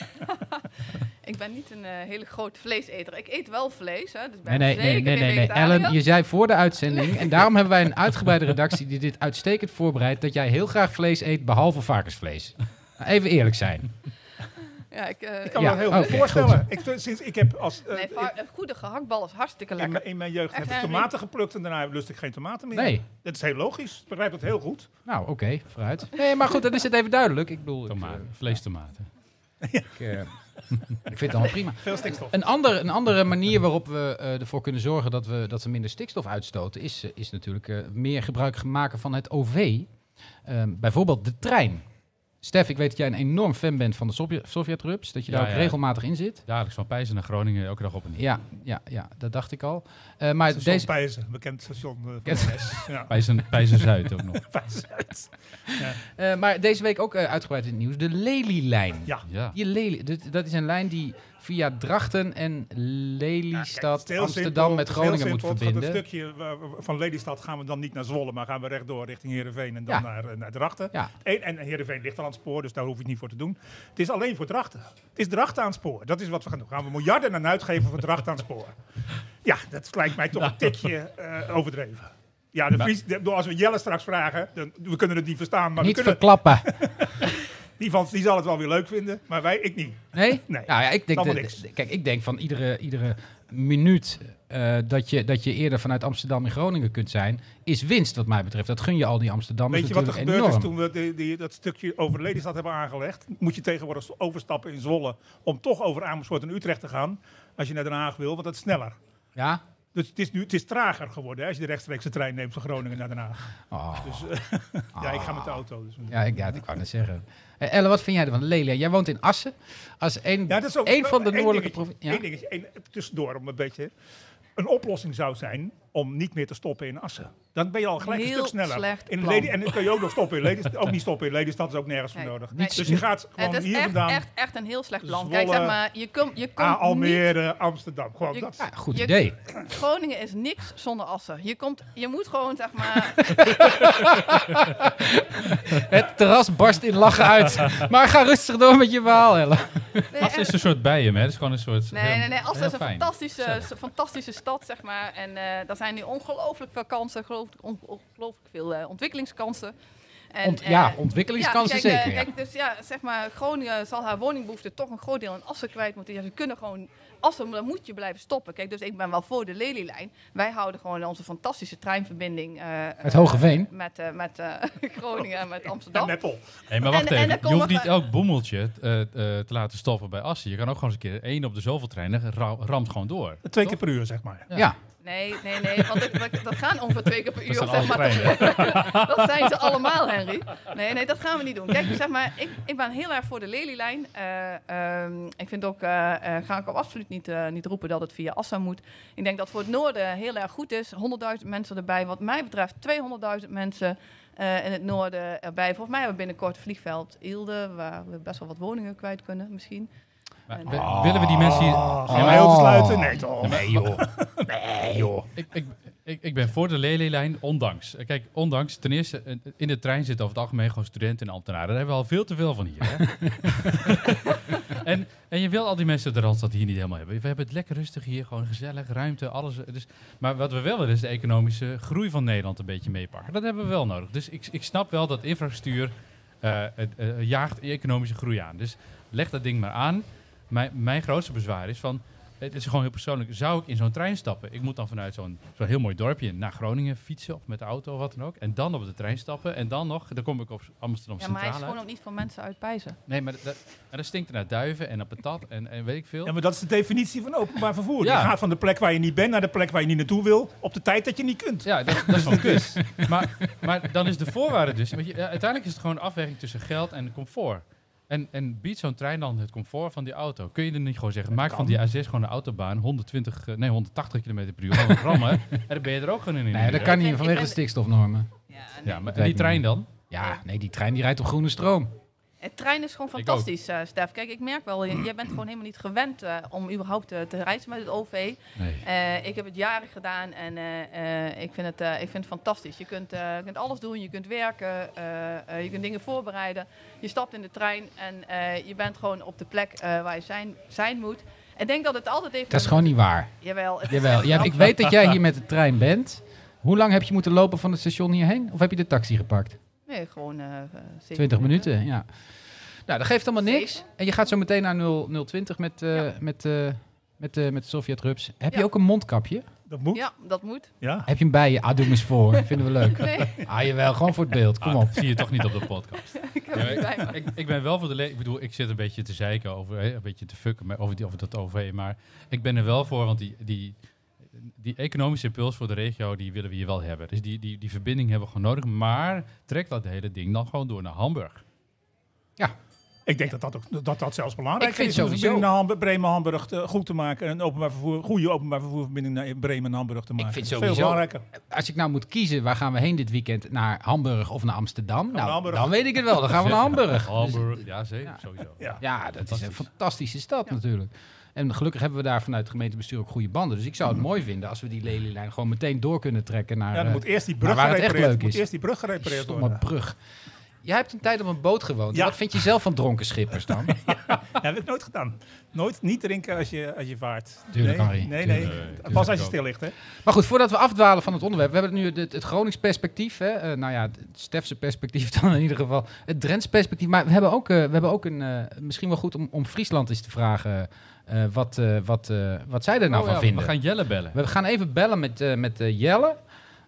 S6: ik ben niet een eh, hele grote vleeseter. Ik eet wel vlees, hè. Dus ben
S2: Nee, nee, nee, nee,
S6: zeker geen
S2: nee, nee.
S6: vegetariër.
S2: Ellen, je zei voor de uitzending, en daarom hebben wij een uitgebreide redactie die dit uitstekend voorbereidt, dat jij heel graag vlees eet, behalve varkensvlees. Nou, Even eerlijk zijn.
S6: Ja, ik, eh,
S3: Ik kan
S2: Ja,
S3: me dat heel
S2: oké,
S3: goed voorstellen. Ik, sinds ik heb als, eh,
S6: nee, va- eh, goede gehaktbal is hartstikke
S3: in,
S6: lekker.
S3: mijn- in mijn jeugd heb
S6: Echt,
S3: ik
S6: eh,
S3: tomaten geplukt en daarna lust ik geen tomaten meer.
S2: Nee.
S3: Dat is heel logisch. Ik begrijp dat heel goed.
S2: Nou, oké, vooruit. Nee, maar goed, dan is het even duidelijk. Ik bedoel, ik,
S1: Tomaten, vleestomaten.
S2: eh, ik, eh, ik vind het allemaal prima.
S3: Veel stikstof.
S2: Een, ander, een andere manier waarop we eh, ervoor kunnen zorgen dat we, dat we minder stikstof uitstoten, is, eh, is natuurlijk eh, meer gebruik maken van het OV. Ehm, bijvoorbeeld de trein. Stef, ik weet dat jij een enorm fan bent van de Sovjet- Sovjet-rups, dat je
S1: Ja,
S2: daar ook
S1: ja.
S2: regelmatig in zit.
S1: Dagelijks van Pijzen naar Groningen, elke dag op en neer.
S2: Ja, ja, ja, dat dacht ik al. Eh, maar
S3: Station
S2: deze,
S3: Pijzen, bekend station eh, van
S2: Kent-
S3: de West. Ja.
S1: Pijzen, Pijzen Zuid ook nog.
S2: eh, maar deze week ook eh, uitgebreid in het nieuws, de Lelylijn.
S3: Ja.
S1: Ja.
S2: Die Lely, dit- dat is een lijn die via Drachten en Lelystad,
S3: Heel
S2: Amsterdam met
S3: heel
S2: Groningen moet
S3: simpel. Het gaat
S2: verbinden.
S3: Een stukje eh, van Lelystad gaan we dan niet naar Zwolle, maar gaan we rechtdoor richting Heerenveen en dan
S2: Ja.
S3: naar, eh, naar Drachten.
S2: Ja.
S3: En, en Heerenveen ligt al aan het spoor, dus daar hoef je het niet voor te doen. Het is alleen voor Drachten. Het is Drachten aan het spoor. Dat is wat we gaan doen. Gaan we miljarden aan uitgeven voor Drachten aan het spoor. Ja, dat lijkt mij toch een tikje eh, overdreven. Ja, de
S2: Nou.
S3: Fries, de- als we Jelle straks vragen, dan, we kunnen het niet verstaan, maar we
S2: Niet
S3: kunnen,
S2: verklappen.
S3: die, van, die zal het wel weer leuk vinden, maar wij, ik niet.
S2: Nee?
S3: Nee.
S2: Nou ja, ik denk,
S3: Allemaal
S2: dat-
S3: niks.
S2: kijk, ik denk van iedere, iedere minuut eh, dat, je, dat je eerder vanuit Amsterdam in Groningen kunt zijn, is winst wat mij betreft. Dat gun je al die Amsterdammers
S3: Weet je wat er
S2: natuurlijk
S3: gebeurd
S2: enorm.
S3: is toen we die, die, dat stukje over Lelystad hebben aangelegd? Moet je tegenwoordig overstappen in Zwolle om toch over Amersfoort en Utrecht te gaan als je naar Den Haag wil, want dat is sneller.
S2: Ja?
S3: Dus het is nu het is trager geworden hè, als je de rechtstreekse trein neemt van Groningen naar Den Haag.
S2: Oh,
S3: Dus- Ja, ik ga met de auto. Dus.
S2: Ah. ja, ik, ja, ik wou net zeggen. Eh, Ellen, wat vind jij ervan? Lelia, jij woont in Assen. Als een,
S3: Ja, dat is ook-
S2: een van de
S3: één
S2: noordelijke
S3: dingetje,
S2: provincies. Ja?
S3: één dingetje, één- tussendoor om een beetje. Een oplossing zou zijn om niet meer te stoppen in Assen. Dan ben je al gelijk
S6: Heel
S3: een stuk sneller.
S6: slecht
S3: in
S6: plan.
S3: Lely- en dan kun je ook nog stoppen in Lelystad. Ook niet stoppen in Lelystad is ook nergens voor
S6: Nee,
S3: nodig.
S6: nee.
S3: Dus je gaat
S6: Het
S3: gewoon
S6: is
S3: hier
S6: echt,
S3: vandaan.
S6: echt, echt een heel slecht plan. Kijk,
S3: Zwolle,
S6: zeg maar, je komt je
S3: A,
S6: komt niet...
S3: Almere, Amsterdam. Gewoon
S6: Je-
S3: dat.
S2: Ja, goed
S6: Je-
S2: idee.
S6: Groningen is niks zonder Assen. Je, komt, je moet gewoon, zeg maar...
S2: Het terras barst in lachen uit. Maar ga rustig door met je verhaal, Ellen.
S6: Nee,
S1: Assen
S6: echt.
S1: is een soort bijen, hè? Het is gewoon een soort...
S6: Nee,
S1: heel-
S6: nee, nee. Assen
S1: heel
S6: is een
S1: fijn.
S6: fantastische, s- fantastische stad, zeg maar. En eh daar zijn nu ongelooflijk veel kansen, geloof- on- ongelooflijk veel eh, ontwikkelingskansen. En,
S2: Ont-
S6: eh,
S2: ja, ontwikkelingskansen
S6: ja, kijk, eh,
S2: zeker. ja.
S6: kijk, dus ja, zeg maar, Groningen zal haar woningbehoefte toch een groot deel in Assen kwijt moeten. Ja, ze kunnen gewoon Assen, dan moet je blijven stoppen. Kijk, dus ik ben wel voor de Lelylijn. Wij houden gewoon onze fantastische treinverbinding. eh,
S2: Met
S6: eh,
S2: Hogeveen?
S6: Met, eh, met eh, Groningen en met
S3: En
S6: Amsterdam.
S3: Meppel.
S1: Nee, maar
S6: En-
S1: wacht
S6: en
S1: even.
S6: dan
S1: je
S6: komen
S1: hoeft niet
S6: we-
S1: elk bommeltje eh, eh, te laten stoppen bij Assen. Je kan ook gewoon eens een keer één op de zoveel treinen ra- ramt gewoon door.
S3: Twee keer per uur, zeg maar.
S2: Ja.
S6: Nee, nee, nee, want dat, dat- dat gaan ongeveer twee keer per uur.
S1: zijn
S6: zeg maar,
S1: alle
S6: dat zijn ze allemaal, Henry. Nee, nee, dat gaan we niet doen. Kijk, zeg maar, ik, ik ben heel erg voor de lelielijn. Eh, ehm, ik vind ook, eh, eh, ga ik ook absoluut niet, eh, niet roepen dat het via Assa moet. Ik denk dat voor het noorden heel erg goed is. 100.000 mensen erbij. Wat mij betreft 200.000 mensen eh, in het noorden erbij. Volgens mij hebben we binnenkort vliegveld Ilde, waar we best wel wat woningen kwijt kunnen misschien.
S1: Maar
S6: En-
S1: we-
S2: Ah,
S3: Oh.
S1: willen we die mensen hier...
S3: Gaan we heel te sluiten? Nee, toch?
S2: Nee, joh.
S1: Ik, ik, ik, ik, ik ben voor de lelylijn, ondanks. Eh, Kijk, ondanks, ten eerste, eh, in de trein zitten over het algemeen gewoon studenten en ambtenaren. Daar hebben we al veel te veel van hier. Hè? en, en je wil al die mensen uit de Randstad hier niet helemaal hebben. We hebben het lekker rustig hier, gewoon gezellig, ruimte, alles. eh, Dus, maar wat we wel willen is de economische groei van Nederland een beetje meepakken. Dat hebben we wel nodig. Dus ik, ik snap wel dat infrastructuur eh, het, eh, jaagt economische groei aan. Dus leg dat ding maar aan. Mijn, mijn grootste bezwaar is van, het is gewoon heel persoonlijk. Zou ik in zo'n trein stappen? Ik moet dan vanuit zo'n zo'n heel mooi dorpje naar Groningen fietsen of met de auto of wat dan ook. En dan op de trein stappen. En dan nog, dan kom ik op Amsterdam
S6: Ja, maar
S1: Centraal
S6: hij is
S1: uit.
S6: gewoon ook niet voor mensen uit Pijzen.
S1: Nee, maar dat, dat, maar dat stinkt er naar duiven en naar patat en, en weet ik veel.
S3: Ja, maar dat is de definitie van openbaar vervoer.
S1: Ja.
S3: Je gaat van de plek waar je niet bent naar de plek waar je niet naartoe wil, op de tijd dat je niet kunt.
S1: Ja, dat, dat is wel kus. Maar, maar dan is de voorwaarde dus... Want je, ja, uiteindelijk is het gewoon een afweging tussen geld en comfort. En, en biedt zo'n trein dan het comfort van die auto? Kun je er niet gewoon zeggen, maak van die A6 gewoon een autobaan... 120, eh, nee, 180 km per uur, gewoon rammen. en dan ben je er ook gewoon in. in
S2: Nee,
S1: een
S2: dat
S1: uur.
S2: kan niet
S6: ben-
S2: vanwege
S6: ik
S2: de
S6: ben-
S2: stikstofnormen.
S6: Ja,
S1: Ja, maar
S2: Dat
S1: die
S2: lijkt me
S1: trein
S2: niet.
S1: dan?
S2: Ja, nee, die trein die rijdt op groene stroom.
S6: Het trein is gewoon
S1: Ik ook.
S6: fantastisch, eh, Stef. Kijk, ik merk wel, j- jij bent gewoon helemaal niet gewend eh, om überhaupt eh, te reizen met het OV.
S1: Nee.
S6: Eh, ik heb het jaren gedaan en eh, eh, ik, vind het, eh, ik vind het fantastisch. Je kunt, eh, je kunt alles doen, je kunt werken, eh, eh, je kunt dingen voorbereiden. Je stapt in de trein en eh, je bent gewoon op de plek eh, waar je zijn, zijn moet. Ik denk dat het altijd even...
S2: Dat is gewoon niet waar.
S6: Jawel. het is
S2: Jawel,
S6: echt
S2: ja,
S6: wel-
S2: ik weet dat jij hier met de trein bent. Hoe lang heb je moeten lopen van het station hierheen? Of heb je de taxi gepakt?
S6: Nee, gewoon... eh, eh, zeven
S2: 20 minuten, ja. Nou, dat geeft allemaal niks.
S6: Zeven.
S2: En je gaat zo meteen naar 0, 020 met, eh, met, eh, met, eh, met de Sovjet-rups. Heb je
S6: Ja.
S2: ook een mondkapje?
S3: Dat moet. Ja.
S6: eh. Ja, dat moet.
S2: Heb je hem bij je? Ah, doe hem eens voor. Vinden we leuk.
S6: Nee,
S2: Ah, jawel, gewoon voor het beeld. Kom
S1: Ah,
S2: op.
S1: dat zie je toch niet op de podcast.
S6: ik heb
S1: Ja,
S6: het niet bij me.
S1: ik, ik ben wel voor de... le- Ik bedoel, ik zit een beetje te zeiken over... hè, Een beetje te fucken maar over, die, over dat OV. Maar ik ben er wel voor, want die, die, die economische impuls voor de regio... die willen we hier wel hebben. Dus die, die, die verbinding hebben we gewoon nodig. Maar trek dat hele ding dan gewoon door naar Hamburg.
S3: Ik denk dat, dat, ook, dat dat zelfs belangrijk
S2: Ik vind
S3: is. om de
S2: sowieso-
S3: verbinding naar Hamburg, Bremen-Hamburg eh, goed te maken. en Een openbaar vervoer, goede openbaar vervoerverbinding naar Bremen en Hamburg te maken.
S2: vind
S3: Dat is
S2: sowieso-
S3: Veel belangrijker.
S2: Als ik nou moet kiezen, waar gaan we heen dit weekend? Naar Hamburg of naar Amsterdam?
S3: naar
S2: Nou,
S3: Hamburg.
S2: dan weet ik het wel. Dan gaan we naar Hamburg.
S1: Hamburg, ja zeker,
S2: ja.
S1: sowieso.
S3: Ja.
S2: Ja, dat is een
S1: Fantastisch.
S2: fantastische stad natuurlijk. En gelukkig hebben we daar vanuit het gemeentebestuur ook goede banden. Dus ik zou het
S1: Mm.
S2: mooi vinden als we die lelylijn gewoon meteen door kunnen trekken naar...
S3: Ja, dan
S2: eh,
S3: moet eerst die
S2: maar
S3: brug
S2: waar het echt
S3: gerepareerd,
S2: leuk
S3: moet
S2: is.
S3: eerst die brug
S2: die
S3: gerepareerd
S2: stomme
S3: worden.
S2: brug. Jij hebt een tijd op een boot gewoond.
S3: Ja.
S2: Wat vind je zelf van dronken schippers dan?
S3: Dat heb ik nooit gedaan. Nooit niet drinken als je, als je vaart.
S2: Tuurlijk,
S3: nee,
S2: Harry.
S3: Nee, nee.
S1: Tuurlijk. Nee,
S3: Pas als
S1: tuurlijk
S3: je
S1: ook.
S3: stil ligt, hè.
S2: maar goed, voordat we afdwalen van het onderwerp. We hebben nu het, het Gronings perspectief. Hè? Eh, nou ja, het Stefse perspectief dan in ieder geval. Het Drents perspectief. Maar we hebben ook, eh, we hebben ook een... eh, misschien wel goed om, om Friesland eens te vragen... eh, wat, eh, wat, eh, wat zij er nou
S1: Oh
S2: van
S1: ja,
S2: vinden.
S1: We gaan Jelle bellen.
S2: We gaan even bellen met, eh, met eh, Jelle.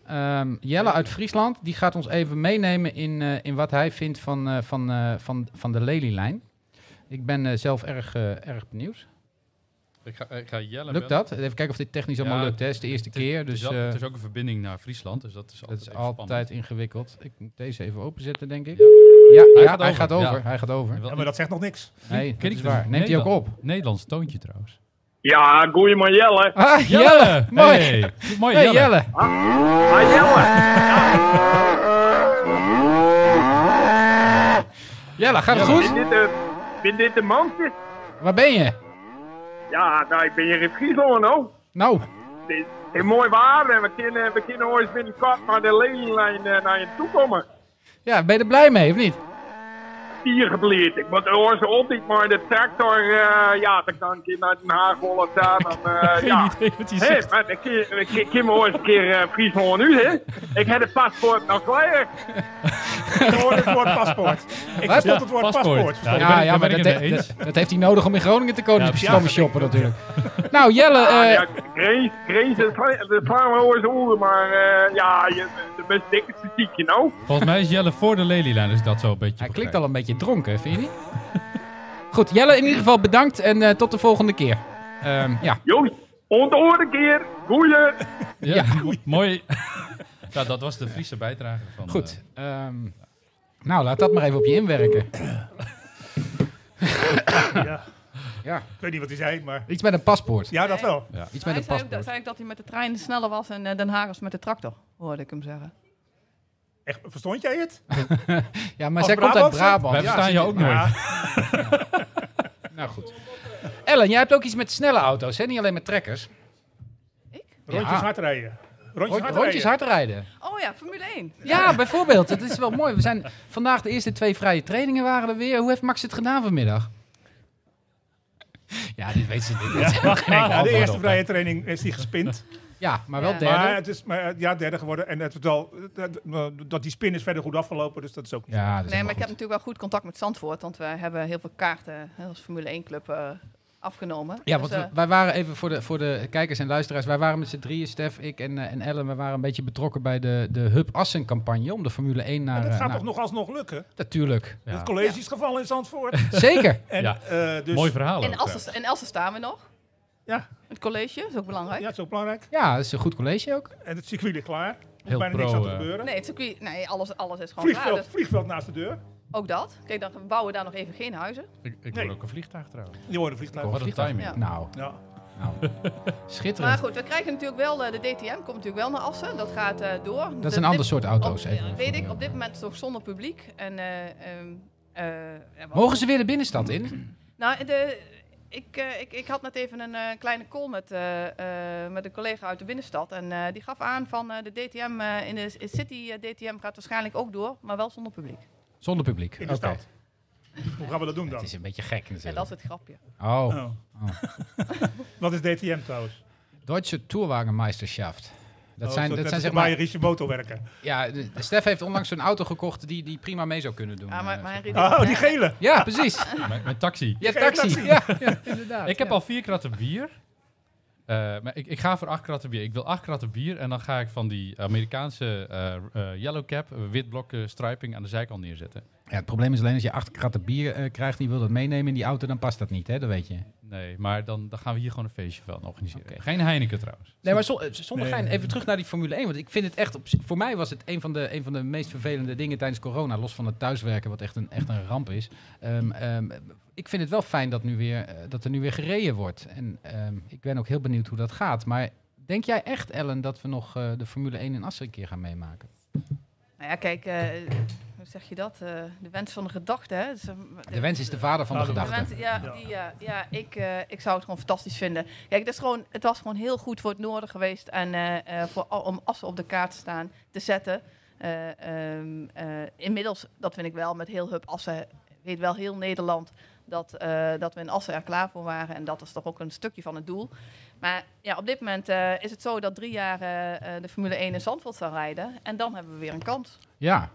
S2: Ehm, Jelle uit Friesland, die gaat ons even meenemen in, eh, in wat hij vindt van, eh, van, eh, van, van de Lelylijn. Ik ben eh, zelf erg, eh, erg benieuwd.
S1: Ik ga, ik ga Jelle
S2: Lukt
S1: bellen.
S2: dat? Even kijken of dit technisch allemaal
S1: Ja,
S2: lukt. Hè? Het is de eerste
S1: Het is-
S2: keer,
S1: het is
S2: dus
S1: al-
S2: eh,
S1: het is ook een verbinding naar Friesland, dus dat is altijd,
S2: dat is
S1: even spannend.
S2: altijd ingewikkeld. Ik moet deze even openzetten, denk ik. Ja, ja, hij, gaat
S1: over,
S2: over.
S1: ja.
S2: Hij gaat over.
S1: Wel-
S3: Ja, maar dat zegt nog niks.
S2: Nee, dat
S1: Ken
S2: is
S1: ik dus
S2: waar. Neemt hij ook
S1: Nederland-
S2: op?
S1: Nederlands toontje trouwens.
S7: Ja, goeie man Jelle.
S2: Ah, Jelle! Mooi!
S1: Hey, mooi
S2: Hey,
S1: Jelle.
S2: Jelle!
S7: Ah, Jelle.
S2: Jelle, gaat het goed?
S7: Ben dit, de, ben dit de man?
S2: Waar ben je?
S7: Ja, nou, ik ben hier in Friesland, nou.
S2: Nou,
S7: Het is- het is mooi waar en we kunnen, we kunnen ooit binnenkort naar de lelijn eh, naar je toe komen.
S2: ja, ben je er blij mee, of niet?
S7: Hier gebleerd. Ik moet ooit zo altijd maar de tractor, eh, ja, dan kan ik hier naar Den Haag rollen staan. Dan, eh, ja. Hé, maar ik ken- ik ken- ik ken me ooit een keer eh, Friesland nu, hè. Ik heb het paspoort nog klaar.
S3: Ik hoorde het woord paspoort. Ik verstond het woord
S1: Paspoort.
S3: paspoort.
S1: Ja,
S2: Ja,
S1: ben-
S2: ja
S1: daar
S2: maar
S1: ben
S2: dat,
S1: ik het mee
S2: he-
S1: eens.
S2: dat- dat heeft hij nodig om in Groningen te komen.
S1: Ja,
S2: dus
S1: ja,
S2: komen shoppen natuurlijk. nou, Jelle,
S7: Ja,
S2: eh,
S7: ja, Grace, Grace, dat sla- dat slaan we ooit over, maar eh, ja, je, de best dikke nou. statiek, you know.
S1: Volgens mij is Jelle voor de lelylijn, dus dat zo een beetje
S2: hij klinkt
S1: begrijp.
S2: al een beetje dronken, vind je niet? Goed, Jelle, in ieder geval bedankt en eh, tot de volgende keer. Ehm, ja,
S7: Joost, onthoor een keer, goeie.
S1: Ja, mo- mooi. nou, dat was de Friese bijdrage van... eh,
S2: goed. Ehm, nou, laat dat maar even op je inwerken.
S3: Ja.
S2: Ja,
S3: Ik weet niet wat hij zei, maar...
S2: iets met een paspoort.
S3: Ja, dat wel.
S2: Iets met
S6: Hij
S2: een
S6: zei ook, dat,
S2: paspoort.
S6: zei ook dat hij met de trein sneller was in eh, Den Haag als met de tractor, hoorde ik hem zeggen.
S3: Echt, verstond jij het?
S2: Ja, maar
S3: Als
S2: zij komt uit
S3: Brabantse?
S1: Wij
S2: Brabant. Ja.
S1: verstaan je ook nooit.
S3: Ja,
S2: Nou goed. Ellen, jij hebt ook iets met snelle auto's, hè? Niet alleen met trekkers.
S3: rondjes
S2: Ja.
S3: hard rijden. Rondjes hard
S2: Rondjes
S3: rijden.
S2: hard rijden.
S6: Oh ja, Formule 1.
S2: Ja, bijvoorbeeld. Dat is wel mooi. We zijn vandaag de eerste twee vrije trainingen waren er weer. Hoe heeft Max het gedaan vanmiddag? Ja, dit weet ze niet.
S3: Ja, de eerste
S2: Ja,
S3: vrije training is hij gespind.
S2: ja maar wel
S6: Ja.
S2: derde.
S3: Maar het is maar, eh, ja, derde geworden. En het is wel, eh, eh, dat die spin is verder goed afgelopen, dus dat is ook niet.
S2: ja, dat is
S6: Nee, maar ik heb
S2: helemaal
S6: natuurlijk wel goed contact met Zandvoort, want we hebben heel veel kaarten hè, als Formule 1 club eh, afgenomen.
S2: Ja,
S6: Dus,
S2: want we-
S6: eh,
S2: wij waren even voor de, voor de kijkers en luisteraars. Wij waren met z'n drieën, Stef, ik en, eh, en Ellen. We waren een beetje betrokken bij de, de Hub Assen-campagne om de Formule 1 naar...
S3: Maar dat
S2: eh,
S3: gaat
S2: naar-
S3: toch nog alsnog lukken?
S2: Natuurlijk.
S1: Ja.
S3: Het college is gevallen in Zandvoort.
S2: Zeker.
S3: En,
S1: Ja.
S3: eh, dus,
S1: Mooi verhaal.
S6: in,
S1: ook,
S6: Elsen, in Elsen staan we nog.
S3: Ja.
S6: Het college, dat is ook belangrijk.
S3: Ja, het is ook belangrijk.
S2: Ja, dat is een goed college ook.
S3: En het circuit ligt klaar. Er hoeft
S1: Heel
S3: bijna
S1: pro,
S3: niks aan te
S1: eh,
S3: gebeuren.
S6: Nee, het circuit, nee alles, alles is gewoon klaar.
S3: vliegveld,
S6: dus
S3: vliegveld naast de deur.
S6: ook dat. Kijk, dan bouwen we daar nog even geen huizen.
S1: eh. Ik, ik
S3: Nee.
S1: hoor ook een vliegtuig trouwens.
S3: Die worden vliegtuig.
S1: Wat een
S2: Vliegtuig.
S1: timing.
S6: Ja.
S2: Nou,
S3: Ja.
S2: nou.
S6: Maar
S2: schitterend.
S6: goed, we krijgen natuurlijk wel, eh, de DTM komt natuurlijk wel naar Assen. Dat gaat eh, door.
S2: Dat is
S6: De-
S2: een ander
S6: dit-
S2: soort auto's.
S6: op-
S2: Even
S6: Weet
S2: voor-
S6: ik, op dit moment toch zonder publiek. En, eh, ehm, eh, ja, wat-
S2: Mogen ze weer de binnenstad in?
S6: Nou, de, ik, eh, ik, ik had net even een eh, kleine call met, eh, eh, met een collega uit de binnenstad. En eh, die gaf aan van eh, de DTM eh, in de s- City eh, DTM gaat waarschijnlijk ook door, maar wel zonder publiek.
S2: Zonder publiek.
S3: In de
S2: Oké.
S3: stad. Hoe gaan we dat doen dan?
S2: Het is een beetje gek
S6: Ja,
S2: natuurlijk.
S6: dat is het grapje.
S2: Oh,
S3: Oh. Wat is DTM trouwens? Oh,
S2: Deutsche Tourwagenmeisterschaft. Dat zijn, Oh, dat zijn zeg maar,
S3: Bayerische motorwerken.
S2: ja, de- de Stef heeft onlangs zo'n auto gekocht die, die prima mee zou kunnen doen.
S6: Ja, Ah, maar,
S2: eh,
S6: maar
S2: zeg
S6: hij riep-
S3: Oh, die gele.
S2: Ja, precies.
S1: Mijn, mijn taxi.
S2: Ja,
S3: Geen
S2: taxi.
S3: taxi.
S2: Ja, ja, inderdaad.
S1: Ik heb
S2: ja.
S1: al vier kratten bier. Eh, maar ik, ik ga voor acht kratten bier. Ik wil acht kratten bier en dan ga ik van die Amerikaanse eh, eh, yellow cap, eh, wit blok eh, striping aan de zijkant neerzetten.
S2: Ja, het probleem is alleen als je acht kratten bier eh, krijgt en je wil dat meenemen in die auto, dan past dat niet, hè? Dat weet je.
S1: Nee, maar dan, dan gaan we hier gewoon een feestje van organiseren. Geen Heineken trouwens.
S2: Nee, maar zo- eh, zonder gein, even terug naar die Formule 1. Want ik vind het echt, op, z- voor mij was het een van, de, een van de meest vervelende dingen tijdens corona. Los van het thuiswerken, wat echt een, echt een ramp is. Ehm, ehm, ik vind het wel fijn dat, nu weer, eh, dat er nu weer gereden wordt. En ehm, ik ben ook heel benieuwd hoe dat gaat. Maar denk jij echt, Ellen, dat we nog eh, de Formule 1 in Assen een keer gaan meemaken?
S6: Nou ja, kijk, eh, hoe zeg je dat? Eh, de wens van de gedachte, hè? Dus, eh,
S2: De wens is de vader van de
S3: Vader.
S6: de
S2: gedachte.
S6: wens- ja, die, ja, ja ik, eh, ik zou het gewoon fantastisch vinden. Kijk, het, is gewoon, het was gewoon heel goed voor het noorden geweest. En eh, eh, voor, al- om Assen op de kaart te staan, te zetten. Eh, ehm, eh, inmiddels, dat vind ik wel, met heel Hub Assen weet wel heel Nederland dat, eh, dat we in Assen er klaar voor waren. En dat is toch ook een stukje van het doel. Maar ja, op dit moment eh, is het zo dat drie jaar eh, eh, de Formule 1 in Zandvoort zal rijden. En dan hebben we weer een kans.
S2: Ja.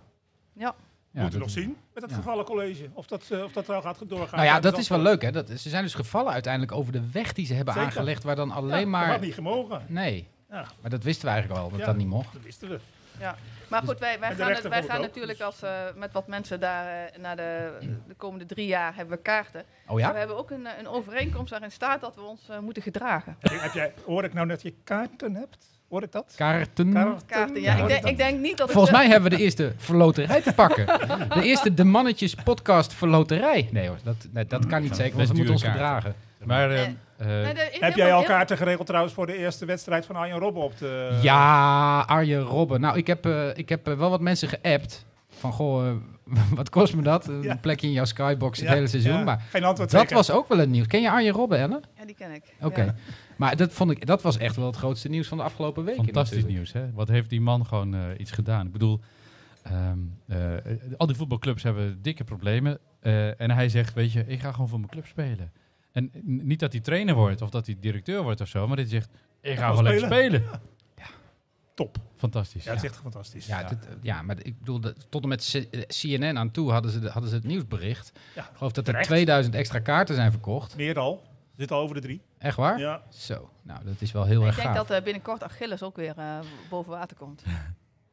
S6: Ja.
S2: Ja,
S3: Moeten we
S2: dat-
S3: nog zien met het
S2: ja.
S3: gevallen college. Of dat, eh, of dat nou gaat doorgaan.
S2: Nou ja, dat is wel leuk, hè? Dat, ze zijn dus gevallen uiteindelijk over de weg die ze hebben
S3: Zeker.
S2: aangelegd, waar dan
S3: Ja,
S2: alleen
S3: Dat
S2: maar...
S3: had niet gemogen.
S2: Nee,
S3: Ja.
S2: maar dat wisten we eigenlijk al, dat
S3: Ja.
S2: dat niet mocht.
S3: Dat wisten we.
S6: Ja, maar goed, wij, wij
S3: En de
S6: gaan, het-
S3: rechter
S6: wij
S3: vond het
S6: gaan
S3: ook,
S6: natuurlijk als, eh, met wat mensen daar eh naar de, de komende drie jaar hebben we kaarten.
S2: Oh
S6: Maar
S2: ja?
S6: We hebben ook een, eh, een overeenkomst waarin staat dat we ons eh, moeten gedragen.
S3: Heb, heb jij, hoor ik nou dat je kaarten hebt? Hoor ik dat?
S2: Kaarten.
S3: Kaarten?
S6: Kaarten, ja, ik, denk- ik denk niet dat ik
S2: Volgens
S6: ze-
S2: mij hebben we de eerste verloterij te pakken. De eerste De Mannetjes podcast verloterij. Nee hoor, dat, nee,
S3: Mm,
S2: dat kan niet zeker, want
S1: best
S2: we moeten ons
S1: dure
S2: gedragen.
S1: Maar ehm, eh,
S6: Nee, er is
S3: Heb
S6: heel
S3: jij al
S6: veel-
S3: kaarten geregeld trouwens voor de eerste wedstrijd van Arjen Robben op de...
S2: Ja, Arjen Robben. Nou, ik heb, eh, ik heb eh, wel wat mensen geappt. Van, goh, eh, wat kost me dat? Een
S3: Ja.
S2: plekje in jouw skybox het
S3: Ja,
S2: hele seizoen.
S3: ja.
S2: Maar
S3: Geen antwoord
S2: dat
S3: zeker?
S2: was ook wel het nieuws. Ken je Arjen Robben, Ellen?
S6: Ja, die ken ik.
S2: Oké.
S6: Ja.
S2: Maar dat, vond ik, dat was echt wel het grootste nieuws van de afgelopen weken.
S1: Fantastisch
S2: natuurlijk.
S1: nieuws, hè? Wat heeft die man gewoon eh, iets gedaan? Ik bedoel, ehm, eh, al die voetbalclubs hebben dikke problemen. eh, en hij zegt, weet je, ik ga gewoon voor mijn club spelen. En n- niet dat hij trainer wordt of dat hij directeur wordt of zo, maar dat hij zegt, ik ga
S3: gewoon
S1: gewoon lekker spelen.
S3: Top.
S1: Fantastisch.
S3: Ja, het is echt fantastisch.
S2: Ja, dit- eh, ja, maar ik bedoel, dat- tot en met C- eh, CNN aan toe hadden ze, de- hadden ze het nieuwsbericht.
S3: Ja,
S2: ik geloof dat er
S3: terecht.
S2: 2000 extra kaarten zijn verkocht.
S3: Meer al. Zit al over de drie.
S2: Echt waar?
S3: Ja.
S2: Zo, nou dat is wel heel
S6: Ik
S2: erg
S6: denk
S2: gaaf.
S6: dat eh, binnenkort Achilles ook weer eh, boven water komt.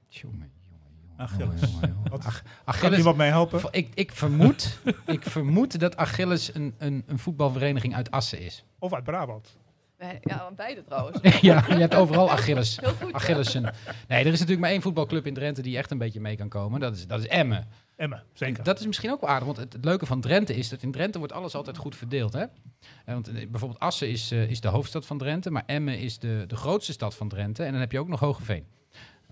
S2: Tjonge, jonge, jonge,
S3: Achilles.
S2: jonge, jonge.
S3: Wat-
S2: Ach-
S3: Kan
S2: Achilles.
S3: iemand mij helpen?
S2: v- Ik, ik, vermoed, ik vermoed dat Achilles een, een, een voetbalvereniging uit Assen is.
S3: Of uit Brabant?
S6: Wij- Ja, beide trouwens.
S2: ja, je hebt overal Achilles.
S6: Heel goed.
S2: Achillesen. Nee, er is natuurlijk maar één voetbalclub in Drenthe die echt een beetje mee kan komen. Dat is, dat is Emmen.
S3: Emma, zeker.
S2: Dat is misschien ook wel aardig, want het, het leuke van Drenthe is dat in Drenthe wordt alles altijd goed verdeeld. Hè? Eh, Want eh, bijvoorbeeld Assen is, eh, is de hoofdstad van Drenthe, maar Emmen is de, de grootste stad van Drenthe. En dan heb je ook nog Hogeveen.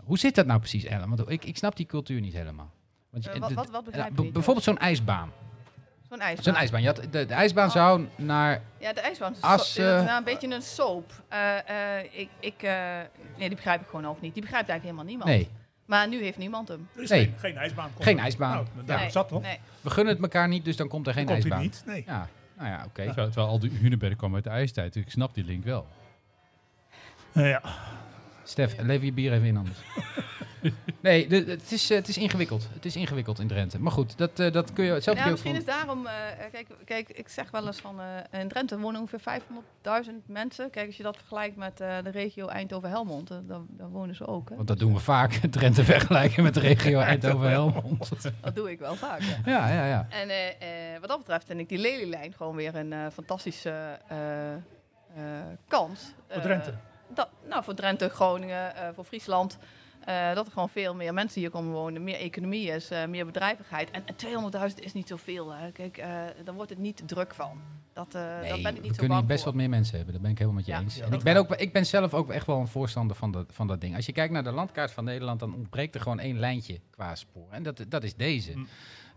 S2: Hoe zit dat nou precies, Ellen? Want ik, ik snap die cultuur niet helemaal. Want je-
S6: Eh, wat-
S2: de-
S6: wat- wat begrijp
S2: eh,
S6: je
S2: b-
S6: niet?
S2: Bijvoorbeeld zo'n ijsbaan.
S6: Zo'n Zo'n ijsbaan.
S2: Zo'n ijsbaan. Je had, de, de ijsbaan zou naar...
S6: Ja, de ijsbaan.
S2: As,
S6: As,
S2: eh,
S6: een beetje een soap. Eh, eh, ik, ik, eh, nee, die begrijp ik gewoon ook niet. Die begrijpt eigenlijk helemaal niemand.
S2: Nee,
S6: Maar nu heeft niemand hem.
S3: Er is
S2: Nee.
S3: geen, geen ijsbaan. komt
S2: Geen
S3: er.
S2: ijsbaan.
S3: Nou, daar
S6: nee,
S3: zat toch?
S6: Nee.
S2: we gunnen het elkaar niet, dus dan komt er geen
S3: Komt hij
S2: ijsbaan.
S3: niet? Nee.
S2: Ja, nou ja, oké.
S1: Terwijl, terwijl al die Hunenberg kwam uit de ijstijd. Ik snap die link wel.
S3: Nou ja.
S2: Stef, lever je bier even in anders. nee, de- de- het, is, eh, het is ingewikkeld. Het is ingewikkeld in Drenthe. Maar goed, dat, eh, dat kun je zelf
S6: Nou,
S2: ook
S6: misschien is
S2: van...
S6: daarom... eh, kijk, kijk, ik zeg wel eens van... eh, in Drenthe wonen ongeveer 500.000 mensen. Kijk, als je dat vergelijkt met eh, de regio Eindhoven-Helmond... eh, dan, dan wonen ze ook. Hè?
S2: Want dat doen we vaak, Drenthe vergelijken met de regio Eindhoven-Helmond.
S6: Dat doe ik wel vaak. ja.
S2: Ja, ja, ja.
S6: En eh, eh, wat dat betreft vind ik die Lelylijn gewoon weer een eh, fantastische eh, eh, kans.
S3: Voor
S6: Eh,
S3: Drenthe.
S6: dat, nou, voor Drenthe, Groningen, eh, voor Friesland. eh, dat er gewoon veel meer mensen hier komen wonen. Meer economie is, eh, meer bedrijvigheid. En, en 200.000 is niet zoveel. Hè. Kijk, eh daar wordt het niet druk van. Dat, eh
S2: Nee,
S6: dat ben ik niet
S2: we
S6: zo
S2: kunnen hier
S6: bang
S2: best
S6: voor.
S2: wat meer mensen hebben. Daar ben ik helemaal met je
S6: Ja,
S2: eens.
S6: ja,
S2: En
S6: dat
S2: ik, ben ook, ik ben zelf ook echt wel een voorstander van dat, van dat ding. Als je kijkt naar de landkaart van Nederland, dan ontbreekt er gewoon één lijntje qua spoor. En dat, dat is deze.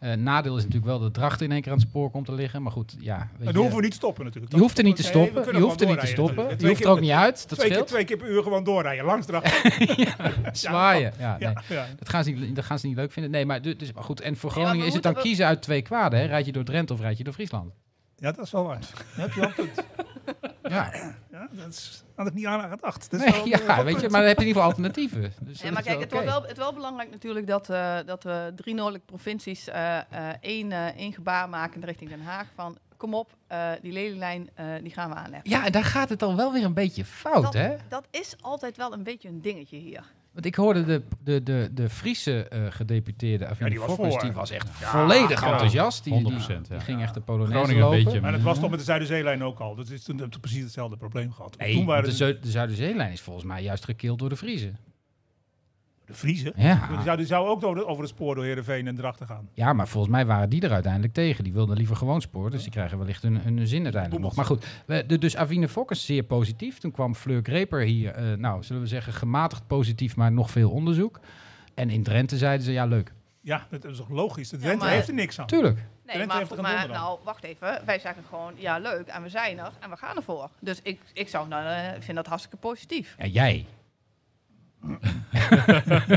S2: Eh, nadeel is natuurlijk wel dat Drachten in één keer aan het spoor komt te liggen. Maar goed, ja. Weet
S3: En dan hoeven we niet te stoppen natuurlijk.
S2: je hoeft er niet te
S3: Nee, we
S2: stoppen.
S3: kunnen
S2: je hoeft er
S3: gewoon
S2: niet te stoppen.
S3: doorrijden natuurlijk.
S2: Je hoeft er
S3: Twee
S2: ook
S3: keer-
S2: niet uit. Dat
S3: twee, keer,
S2: scheelt.
S3: twee keer per uur gewoon doorrijden. Langs de dag.
S2: Zwaaien. Ja, nee.
S3: Ja, ja.
S2: Dat gaan, ze niet, dat gaan ze niet leuk vinden. Nee, maar, du- dus, maar goed. En voor
S6: maar
S2: Groningen
S6: we
S2: is het dan
S6: moeten-
S2: kiezen uit twee kwaden. Hè? Rijd je door Drenthe of rijd je door Friesland?
S3: ja, dat is wel waar. Dan heb je wel een punt.
S2: Ja,
S3: Ja, dat is, had ik niet aan gedacht. Dat is
S2: nee,
S3: wel een, eh,
S2: ja
S3: wel
S2: weet je,
S3: punt.
S2: maar dan heb je in ieder geval alternatieven. Dus
S6: Nee,
S2: dat
S6: maar
S2: is
S6: kijk,
S2: oké.
S6: het, wordt wel, het is wel belangrijk natuurlijk dat, eh, dat we drie noordelijke provincies eh, eh, één, eh, één gebaar maken richting Den Haag. Van kom op, eh, die lelylijn eh, die gaan we aanleggen.
S2: Ja, en daar gaat het dan wel weer een beetje fout,
S6: dat,
S2: hè?
S6: dat is altijd wel een beetje een dingetje hier.
S2: Want ik hoorde de, de, de, de Friese eh, gedeputeerde, Avine
S3: die was
S2: Fokkers,
S3: voor.
S2: die was echt volledig
S1: ja.
S2: enthousiast. Die, die,
S1: 100%,
S2: die
S1: ja.
S2: ging echt de Polonaise
S1: Groningen een
S2: lopen.
S1: beetje.
S3: Maar dat was toch met de Zuiderzeelijn ook al. Dus is toen hebben we precies hetzelfde probleem gehad.
S2: Nee,
S3: toen waren
S2: de,
S3: de,
S2: Zeu- de Zuiderzeelijn is volgens mij juist gekild door de Friese.
S3: de Vriezen. Die
S2: Ja.
S3: zouden die zouden ook door de- over het spoor door Heerenveen en Drachten gaan.
S2: ja, maar volgens mij waren die er uiteindelijk tegen. Die wilden liever gewoon spoor, dus die krijgen wellicht hun, hun zin uiteindelijk nog. Maar goed, we- de, dus Avine Fokkers zeer positief. Toen kwam Fleur Greper hier, eh, nou, zullen we zeggen gematigd positief, maar nog veel onderzoek. En in Drenthe zeiden ze, ja leuk,
S3: Ja, dat is toch logisch. De Drenthe
S6: maar-
S3: heeft er niks aan.
S2: tuurlijk.
S6: Nee,
S3: Drenthe
S6: maar,
S3: heeft er
S6: goed,
S3: geen
S6: maar
S3: donder aan.
S6: nou, wacht even. Wij zeggen gewoon, ja leuk, en we zijn er, en we gaan ervoor. Dus ik, ik zou, nou, eh, ik vind dat hartstikke positief.
S2: Ja, jij.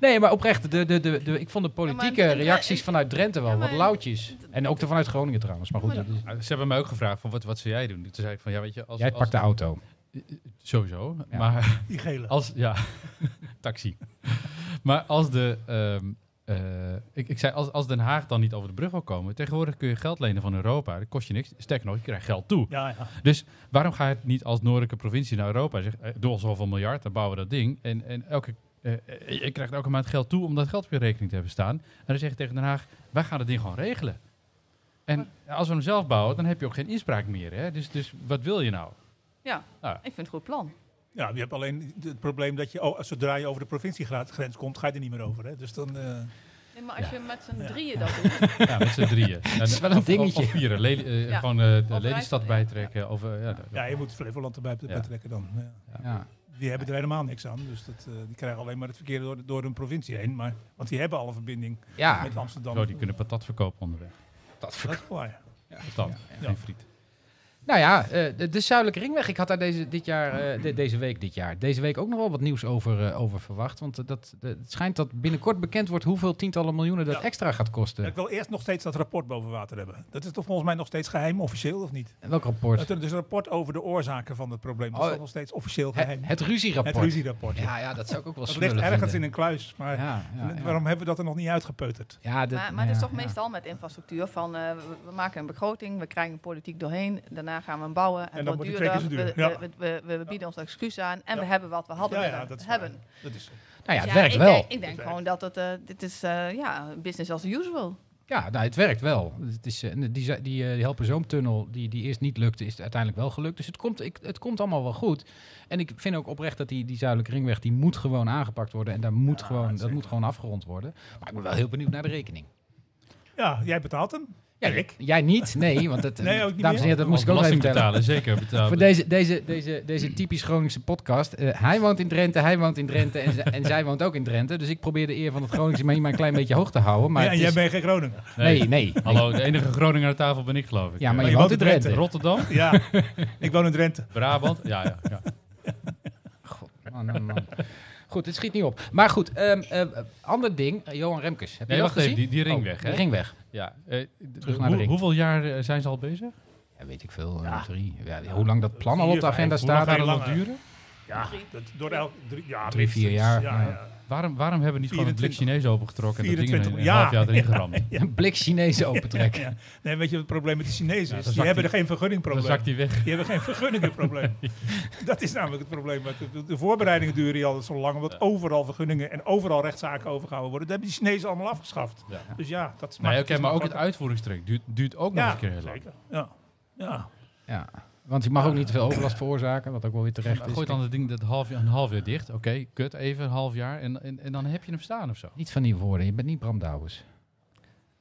S2: nee, maar oprecht, de, de, de, de, ik vond de politieke
S6: Ja, maar-
S2: reacties vanuit Drenthe wel
S6: Ja, maar-
S2: wat lauwtjes. En ook de vanuit Groningen trouwens. Maar goed,
S6: Maar-
S2: dat is-
S1: Nou, Ze hebben mij ook gevraagd van wat, wat zou jij doen? Toen zei ik van ja, weet je, als,
S2: jij
S1: als-
S2: pakt de auto.
S1: sowieso.
S2: Ja.
S1: Maar
S3: Die gele.
S1: Als, ja, taxi. maar als de. ehm, eh, ik, ik zei, als, als Den Haag dan niet over de brug wil komen. Tegenwoordig kun je geld lenen van Europa. Dat kost je niks. Sterker nog, je krijgt geld toe.
S3: Ja, ja.
S1: Dus waarom ga je het niet als noordelijke provincie naar Europa? Zeg, eh, doe al zoveel miljard, dan bouwen we dat ding. En, en elke, eh, eh, je krijgt elke maand geld toe om dat geld op je rekening te hebben staan. En dan zeg je tegen Den Haag, wij gaan het ding gewoon regelen. En als we hem zelf bouwen, dan heb je ook geen inspraak meer. Hè? Dus, dus wat wil je nou?
S6: Ja,
S1: Ah.
S6: ik vind het een goed plan.
S3: ja, je hebt alleen het probleem dat je, oh, zodra je over de provinciegrens komt, ga je er niet meer over. Hè? Dus dan, eh,
S6: Nee, maar als je met z'n drieën dat doet,
S1: Ja, met z'n drieën. Dat
S2: is wel een dingetje.
S1: Of, of vieren. Lely- eh,
S6: Ja.
S1: Gewoon eh, de
S6: Of
S1: Lelystad
S6: Rijs-
S1: bijtrekken. Of, eh, ja,
S3: ja, je moet Flevoland erbij
S1: Ja.
S3: betrekken dan. Ja.
S2: Ja.
S3: Die hebben er helemaal niks aan. Dus dat, eh, die krijgen alleen maar het verkeer door, door hun provincie heen. Maar, want die hebben al een verbinding
S2: Ja.
S3: met Amsterdam.
S1: Zo, die kunnen patat verkopen onderweg.
S3: Dat is waar.
S1: Patat
S3: Ja.
S1: en friet.
S2: Nou ja, eh, de, de Zuidelijke Ringweg. Ik had daar deze, dit jaar, eh, de- deze week dit jaar, deze week ook nog wel wat nieuws over, eh, over verwacht. Want eh, dat, de- het schijnt dat binnenkort bekend wordt hoeveel tientallen miljoenen dat
S3: Ja.
S2: extra gaat kosten.
S3: Ik wil eerst nog steeds dat rapport boven water hebben. Dat is toch volgens mij nog steeds geheim, officieel of niet?
S2: Welk rapport?
S3: Dat er dus een rapport over de oorzaken van het probleem. Dat is
S2: Oh,
S3: toch nog steeds officieel
S2: het,
S3: geheim.
S2: het ruzierapport.
S3: Het ruzierapport.
S2: Ja, ja, dat zou ik ook wel
S3: Dat
S2: smullen
S3: ligt ergens
S2: vinden.
S3: in een kluis. Maar
S2: Ja, ja, ja.
S3: waarom hebben we dat er nog niet uitgepeuterd?
S2: Ja, dat-
S6: maar, maar het is
S2: ja,
S6: toch
S2: ja.
S6: meestal met infrastructuur van eh, we- we maken een begroting, we krijgen een politiek doorheen, daarna gaan we hem bouwen, het
S3: dan
S6: wordt
S3: wordt die
S6: duurder,
S3: twee keer zo
S6: we,
S3: duur,
S6: we, we, we- we bieden ons excuus aan en
S3: Ja.
S6: we hebben wat we hadden
S3: ja, ja,
S6: willen
S3: dat is waar.
S6: hebben.
S3: Dat is,
S2: Nou ja, het
S6: Ja,
S2: werkt
S6: ik
S2: wel.
S6: Denk, ik denk gewoon dat het, eh, dit is eh, ja, business as usual.
S2: Ja, nou, het werkt wel. Het is, eh, die ze- die, eh, die Helperzoomtunnel, die, die eerst niet lukte, is uiteindelijk wel gelukt. Dus het komt, ik, het komt allemaal wel goed. En ik vind ook oprecht dat die, die Zuidelijke Ringweg, die moet gewoon aangepakt worden. En daar moet gewoon, dat moet gewoon afgerond worden. Maar ik ben wel heel benieuwd naar de rekening.
S3: ja, jij betaalt hem.
S2: Ja,
S3: Erik.
S2: Jij niet? Nee, want dat,
S3: Nee, ook niet
S2: dames en heren, dat
S3: meer?
S1: Als
S2: moest ik ook nog even
S1: belasting
S2: vertellen.
S1: betalen, zeker betalen.
S2: Voor deze, deze, deze, deze typisch Groningse podcast. Eh, hij woont in Drenthe, hij woont in Drenthe en, ze- en zij woont ook in Drenthe. Dus ik probeer de eer van het Groningse maar hier maar een klein beetje hoog te houden. Maar
S3: ja, en
S2: het
S3: jij
S2: is-
S3: bent geen Groningen.
S2: nee, nee, nee.
S1: Hallo, de enige Groninger aan tafel ben ik, geloof ik.
S2: Ja, maar
S3: Oh,
S1: Eh,
S2: je woont in Drenthe.
S1: Rotterdam,
S3: Ja, ik woon in Drenthe.
S1: Brabant. Ja, ja, ja.
S2: Man, man, man. Goed, het schiet niet op. Maar goed, ehm, eh, ander ding. Eh, Johan Remkes, heb
S1: Nee,
S2: je dat
S1: wacht even,
S2: gezien?
S1: die, die ring
S2: Oh,
S1: weg,
S2: die
S1: hè?
S2: Ring weg.
S1: Ja. eh, d-
S2: Terug
S1: hoe-
S2: naar de ring.
S1: Hoeveel jaar eh, zijn ze al bezig?
S2: Ja, weet ik veel. eh, Drie. Ja, hoe lang dat plan al op
S3: Vier,
S2: de agenda
S3: vijf.
S1: Hoe lang gaat
S2: staat.
S3: Staat
S1: het
S3: er
S1: nog
S3: langer.
S1: duren?
S3: Ja, dat, door elk drie, ja,
S2: Drie, vier
S3: minstens.
S2: jaar,
S3: Ja,
S2: ja.
S3: ja.
S1: Waarom, waarom hebben we niet gewoon een blik
S3: 24.
S1: Chinees opengetrokken en dat ding in een,
S3: 24,
S1: een half
S3: ja.
S1: jaar erin geramd?
S2: Een blik Chinezen opentrekken.
S3: Ja. Nee, weet je wat het probleem met de Chinezen
S1: Ja, dan
S3: is?
S1: zakt
S3: die hebben
S1: die-
S3: er geen
S1: Dan
S3: vergunningprobleem.
S1: zakt hij weg.
S3: Die hebben geen vergunningenprobleem. dat is namelijk het probleem. want de- De voorbereidingen duren hier altijd zo lang, omdat overal vergunningen en overal rechtszaken overgehouden worden. Dat hebben de Chinezen allemaal afgeschaft.
S1: Ja.
S3: Dus ja, dat is
S1: Nee,
S3: maakt-
S1: oké,
S3: is
S1: maar ook het
S3: makkelijk.
S1: uitvoeringstraject duurt, duurt ook nog
S3: Ja,
S1: een keer heel lang.
S3: zeker. Ja. Ja.
S2: Ja. Want je mag ook niet te veel overlast veroorzaken, wat ook wel weer terecht
S1: Maar
S2: is.
S1: Gooi dan het ding dat half, een half jaar dicht. Oké, kut, even een half jaar. En, en, en dan heb je hem staan of zo.
S2: Niet van die woorden, je bent niet Bram Douwens.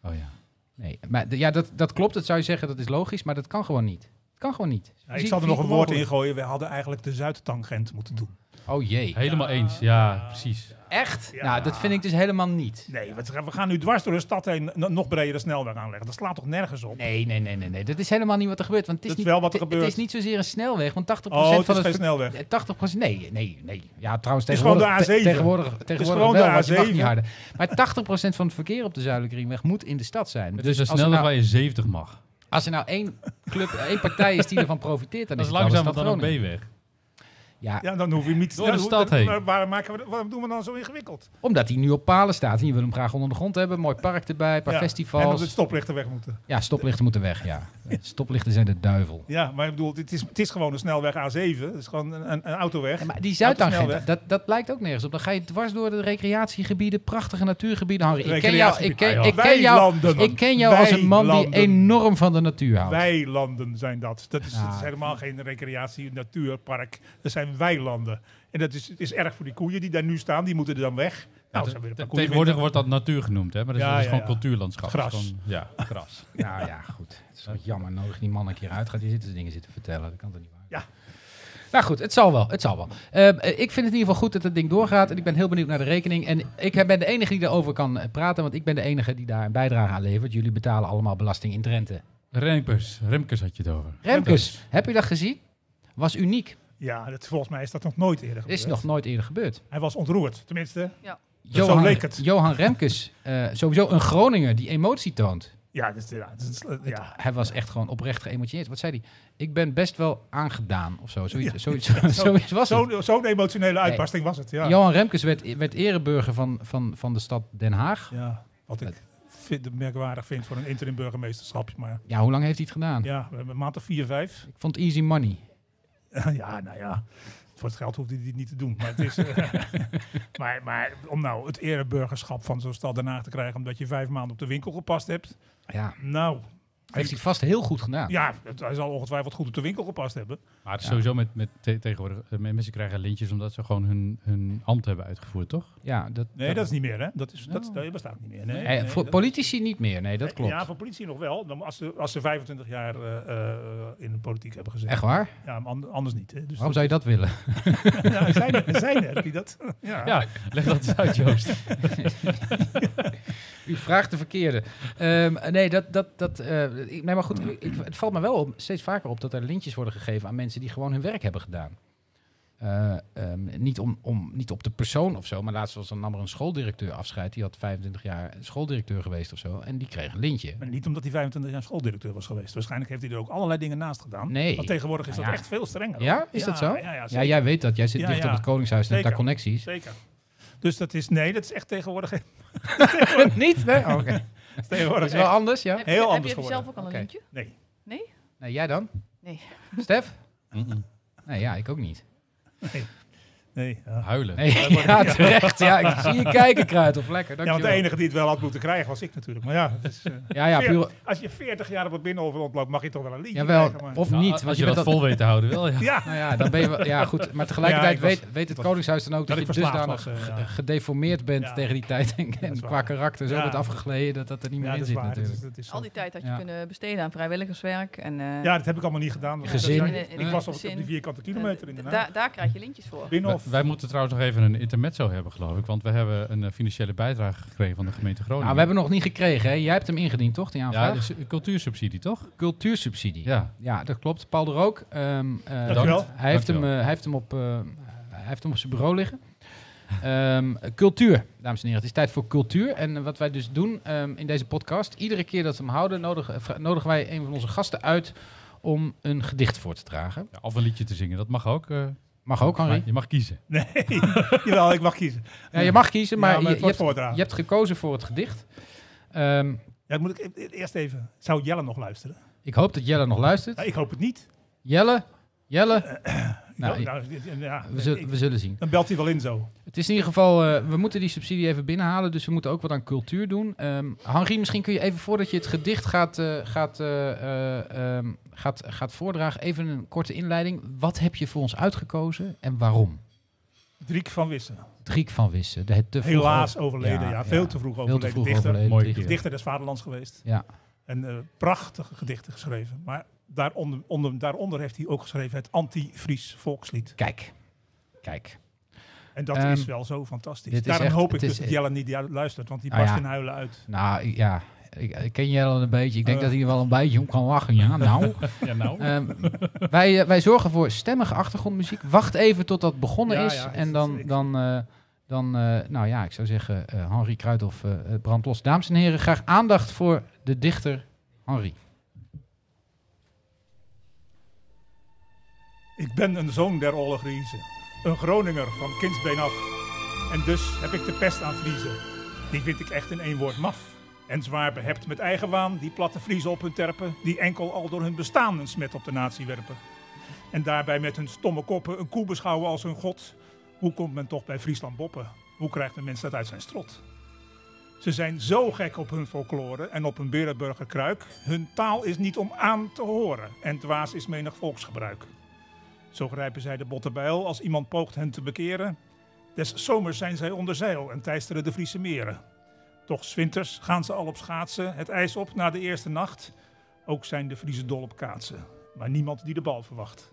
S1: Oh ja.
S2: Nee, maar d- ja, dat, dat klopt, dat zou je zeggen, dat is logisch, maar dat kan gewoon niet. Het kan gewoon niet.
S3: Ja, Nou, ik zal er nog een woord in gooien. We hadden eigenlijk de Zuidtangent moeten doen.
S2: Oh jee,
S1: Helemaal eens. Ja, precies.
S2: echt?
S3: Ja.
S2: Nou, dat vind ik dus helemaal niet.
S3: Nee, wat- we gaan nu dwars door de stad heen een nog bredere snelweg aanleggen. Dat slaat toch nergens op?
S2: Nee, nee, nee, nee, nee. Dat is helemaal niet wat er gebeurt. Want het is,
S3: Dat is
S2: niet,
S3: wel wat er
S2: het-
S3: gebeurt.
S2: Het is niet zozeer een snelweg, want 80%
S3: Oh, het is
S2: van
S3: geen
S2: ver-
S3: snelweg.
S2: eh, 80%, nee, nee, nee. Ja, trouwens,
S3: is gewoon de
S2: tegenwoordig, te-
S3: A7.
S2: tegenwoordig, tegenwoordig
S3: gewoon de
S2: wel, want je mag
S3: A7.
S2: niet harder. Maar 80% van het verkeer op de Zuidelijke Ringweg moet in de stad zijn.
S1: Het is een
S2: als er
S1: snelweg
S2: nou-
S1: waar je 70 mag.
S2: Als er nou één club, één partij is die ervan profiteert, dan
S1: Dat is
S2: is het wel de
S1: langzamer
S2: stad
S1: dan een
S2: Groningen.
S1: B-weg.
S2: Ja,
S3: Ja, dan hoef je hem niet te
S1: Door de
S3: dan-
S1: stad
S3: dan-
S1: heen.
S3: maar Waarom, maken we, dat- waarom doen we dan zo ingewikkeld?
S2: omdat hij nu op palen staat en je wil hem graag onder de grond hebben. Mooi park erbij, een paar
S3: Ja. En op
S2: festivals.
S3: het stoplichten weg moeten.
S2: Ja, stoplichten moeten weg, ja. Stoplichten zijn de duivel.
S3: Ja, maar ik bedoel, dit is, het is gewoon een snelweg A7. Het is gewoon een, een, een autoweg.
S2: Ja, maar die
S3: Autosnelweg.
S2: Zuidtangent, dat, dat lijkt ook nergens op. Dan ga je dwars door de recreatiegebieden, prachtige natuurgebieden. Henri, ik ken jou, ik ken,
S3: Ah,
S2: ik ken jou,
S3: Weilanden.
S2: ik ken jou als een man die
S3: Weilanden.
S2: enorm van de natuur houdt.
S3: Weilanden zijn dat. Dat is,
S2: Ja.
S3: het is helemaal geen recreatie, natuurpark. Dat zijn weilanden. En dat is, het is erg voor die koeien die daar nu staan. Die moeten er dan weg. Nou, ze hebben een paar koeien
S1: Tegenwoordig wordt
S3: minder.
S1: dat natuur genoemd, hè? Maar dat is,
S3: Ja,
S1: dat is
S3: ja,
S1: gewoon
S3: ja.
S1: cultuurlandschap.
S3: Gras.
S1: Dat is gewoon- ja, gras.
S2: Nou ja, goed. Het is wel jammer. Nodig die man een keer uit gaat. Die zitten dingen zitten vertellen. Dat kan toch niet waar?
S3: Ja.
S2: Nou goed, het zal wel. Het zal wel. Ehm, eh, ik vind het in ieder geval goed dat het ding doorgaat. En ik ben heel benieuwd naar de rekening. En ik heb- ben de enige die daarover kan eh, praten. Want ik ben de enige die daar een bijdrage aan levert. Jullie betalen allemaal belasting in Drenthe.
S1: Remkes, Remkes had je het over.
S2: Remkes, heb je dat gezien? Was uniek.
S3: Ja, dat, volgens mij is dat nog nooit eerder gebeurd.
S2: Is nog nooit eerder gebeurd.
S3: Hij was ontroerd. Tenminste, Zo
S2: Johan,
S3: leek het.
S2: Johan Remkes, eh, sowieso een Groninger die emotie toont.
S3: ja, dat is, ja, dat is- ja.
S2: Hij was echt gewoon oprecht geëmotioneerd. Wat zei hij? Ik ben best wel aangedaan of zo. Zoiets,
S3: Ja.
S2: zoiets, zoiets was het.
S3: Zo'n zo'n emotionele uitbarsting was het. Ja.
S2: Johan Remkes werd, werd ereburger van, van, van de stad Den Haag. Ja.
S3: Ja, wat ik vind, merkwaardig vind voor een interim burgemeesterschap. Maar
S2: hoe lang heeft hij het gedaan?
S3: ja, we hebben een maand of vier, vijf.
S2: Ik vond easy money.
S3: ja, nou ja. Voor het geld hoeft hij dit niet te doen. Maar, het is, eh, maar, maar om nou het ereburgerschap van zo'n stad daarna te krijgen... omdat je vijf maanden op de winkel gepast hebt.
S2: Ja,
S3: Nou,
S2: heeft hij vast heel goed gedaan.
S3: ja, het- hij zal ongetwijfeld goed op de winkel gepast hebben.
S1: Maar het is sowieso met, met te- tegenwoordig... eh, Mensen krijgen lintjes omdat ze gewoon hun, hun ambt hebben uitgevoerd, toch?
S2: Ja, dat,
S3: Nee, dat is niet meer, hè? Dat, is, dat, dat bestaat niet meer. Nee,
S2: eh,
S3: nee,
S2: voor
S3: dat-
S2: politici niet meer, nee, dat klopt.
S3: Ja, voor politie nog wel. Dan als, ze, als ze 25 jaar eh, eh, in de politiek hebben gezeten.
S2: Echt waar?
S3: Ja, maar an- anders niet. Hè? Dus
S2: Waarom zou je dat willen?
S3: dat- nou, zijn er, zijn er die dat? Ja.
S1: Ja, leg dat eens uit, Joost.
S2: U vraagt de verkeerde. Ehm, nee, dat, dat, dat, eh, ik- nee, maar goed, ik- ik- het valt me wel op, steeds vaker op dat er lintjes worden gegeven aan mensen die gewoon hun werk hebben gedaan. Eh, ehm, niet, om, om, niet op de persoon of zo, maar laatst was dan nam er een schooldirecteur afscheid. Die had 25 jaar schooldirecteur geweest of zo. En die kreeg een lintje.
S3: Maar niet omdat hij 25 jaar schooldirecteur was geweest. Waarschijnlijk heeft hij er ook allerlei dingen naast gedaan.
S2: Nee.
S3: Want tegenwoordig is
S2: Nou
S3: dat
S2: ja.
S3: echt veel strenger.
S2: Ja, is dat zo?
S3: Ja, ja,
S2: Ja,
S3: zeker.
S2: jij weet dat. Jij zit
S3: Ja,
S2: dicht
S3: ja.
S2: op het Koningshuis en hebt daar
S3: Zeker.
S2: connecties.
S3: zeker. Dus dat is, nee, dat is echt tegenwoordig,
S2: Niet? Nee? Oh, Oké. Dat
S3: tegenwoordig
S2: is wel
S3: Oh, echt-
S2: anders, ja.
S6: Heb je-
S3: heel
S6: Heb
S3: anders
S6: je
S3: geworden.
S6: zelf ook al
S2: Oké.
S6: een liedje?
S3: Nee,
S2: Nee, jij dan?
S6: Nee.
S2: Stef? Nee, ja, ik ook niet.
S3: Nee. Nee, ja.
S1: Huilen.
S2: Nee, ja, terecht. Ja, ik zie je kijken, Kruidhof. Lekker,
S3: Ja, want de
S2: dankjewel.
S3: enige die het wel had moeten krijgen was ik natuurlijk. Maar ja, het is, eh,
S2: Ja, ja,
S3: veer-
S2: puur...
S3: als je 40 jaar op het binnenhof loopt, mag je toch wel een liedje
S2: Jawel,
S3: krijgen. Maar...
S2: of
S1: Nou,
S2: niet.
S1: Als,
S2: Want
S1: je, dat
S2: bent
S1: vol weet te houden, wel ja.
S3: Ja,
S2: Nou ja, dan ben je wel, ja, goed. Maar tegelijkertijd
S3: ik was-
S2: weet, weet het Koningshuis dan ook dat,
S3: dat ik
S2: je
S3: verslaafd
S2: dusdanig
S3: was. eh, ja.
S2: gedeformeerd bent
S3: Ja.
S2: tegen die tijd. En, en
S3: is
S2: qua
S3: waar.
S2: karakter zo
S3: Ja.
S2: bent afgegleden dat dat er niet meer
S3: Ja,
S2: in
S3: dat is
S2: zit
S3: waar. Dat is-
S2: natuurlijk.
S3: dat is zo.
S6: Al die tijd had je
S2: Ja.
S6: kunnen besteden aan vrijwilligerswerk. En, eh,
S3: Ja, dat heb ik allemaal niet gedaan. want
S2: Gezin.
S3: dat- ik-
S6: Ja.
S3: Ik was op, op
S6: Gezin.
S3: die vierkante
S6: en
S3: kilometer
S6: d-
S3: in Den
S6: daar-
S3: Haag.
S6: daar krijg je lintjes voor.
S3: Binnenhof.
S1: Wij moeten trouwens nog even een intermezzo hebben, geloof ik. Want we hebben een eh, financiële bijdrage gekregen van de gemeente Groningen.
S2: Nou, we hebben nog niet gekregen. Hè? Jij hebt hem ingediend, toch? Die
S1: ja,
S2: aanvraag?
S1: dus cultuursubsidie, toch?
S2: Cultuursubsidie.
S1: Ja.
S2: Ja, dat klopt. Paul de Rook. ehm, eh,
S3: Dankjewel.
S2: Hij heeft, hem,
S1: Dankjewel.
S2: eh, hij, heeft hem op, eh, hij heeft hem op zijn bureau liggen. Ehm, cultuur, dames en heren. Het is tijd voor cultuur. En eh, wat wij dus doen ehm, in deze podcast... iedere keer dat we hem houden, nodigen, vra- nodigen wij een van onze gasten uit... om een gedicht voor te dragen.
S1: Ja, of een liedje te zingen, dat mag ook. eh,
S2: Mag ook, Henri.
S1: maar je mag kiezen.
S3: Nee, jawel, ik mag kiezen.
S2: Ja, je mag kiezen, maar,
S3: Ja, maar
S2: je,
S3: het
S2: je
S3: wordt
S2: hebt,
S3: voordragen.
S2: je hebt gekozen voor het gedicht. Ehm,
S3: Ja, moet ik e- e- eerst even. Zou Jelle nog luisteren?
S2: ik hoop dat Jelle nog luistert.
S3: Ja, ik hoop het niet.
S2: Jelle, Jelle, Nou,
S3: Nou, nou, dit- ja,
S2: we zullen,
S3: ik-
S2: we zullen zien.
S3: dan belt hij wel in zo.
S2: Het is in ieder geval, eh, we moeten die subsidie even binnenhalen, dus we moeten ook wat aan cultuur doen. Ehm Henri, misschien kun je even voordat je het gedicht gaat, eh, gaat, eh, eh, ehm, gaat, gaat voordragen, even een korte inleiding. Wat heb je voor ons uitgekozen en waarom?
S3: Driek van Wissen.
S2: Driek van Wissen, de het te vroeg
S3: Helaas
S2: over-
S3: overleden. Ja,
S2: Ja, ja.
S3: veel te vroeg
S2: veel te
S3: overleden.
S2: vroeg
S3: dichter.
S2: overleden.
S1: Mooi
S2: dichter.
S1: keer.
S3: Dichter des Vaderlands geweest.
S2: Ja.
S3: En eh, prachtige gedichten geschreven. Maar daaronder, onder, daaronder heeft hij ook geschreven het Anti-Fries volkslied.
S2: Kijk, kijk.
S3: En dat
S2: Ehm,
S3: is wel zo fantastisch.
S2: dit is
S3: Daarom
S2: echt-
S3: hoop ik
S2: het
S3: dus
S2: is-
S3: dat Jelle niet lu- luistert, want die
S2: Ah,
S3: barst
S2: ja.
S3: in huilen uit.
S2: Nou, ik- ja, ik, ik ken Jelle een beetje. Ik denk
S3: Eh.
S2: dat hij er wel een beetje om kan lachen. Ja, nou.
S1: Ja, nou.
S2: Ehm, wij, eh, wij zorgen voor stemmige achtergrondmuziek. Wacht even tot dat begonnen
S3: Ja,
S2: is.
S3: ja,
S2: en
S3: dat
S2: dan,
S3: is- ik-
S2: dan, eh, dan eh, nou ja, ik zou zeggen, eh Henri Kruidhoff, eh eh, brand los. Dames en heren, graag aandacht voor de dichter Henri.
S3: Ik ben een zoon der Olle Griezen. Een Groninger van kindsbeen af. En dus heb ik de pest aan Vriezen. Die vind ik echt in één woord maf. En zwaar behept met eigenwaan, die platte Vriezen op hun terpen, die enkel al door hun bestaan een smet op de natie werpen. En daarbij met hun stomme koppen een koe beschouwen als hun god. Hoe komt men toch bij Friesland boppen? Hoe krijgt een mens dat uit zijn strot? Ze zijn zo gek op hun folklore en op hun Berenburger kruik. Hun taal is niet om aan te horen en dwaas is menig volksgebruik. Zo grijpen zij de botte bijl als iemand poogt hen te bekeren. Des zomers zijn zij onder zeil en teisteren de Friese meren. Toch zwinters gaan ze al op schaatsen, het ijs op na de eerste nacht. Ook zijn de Friese dol op kaatsen, maar niemand die de bal verwacht.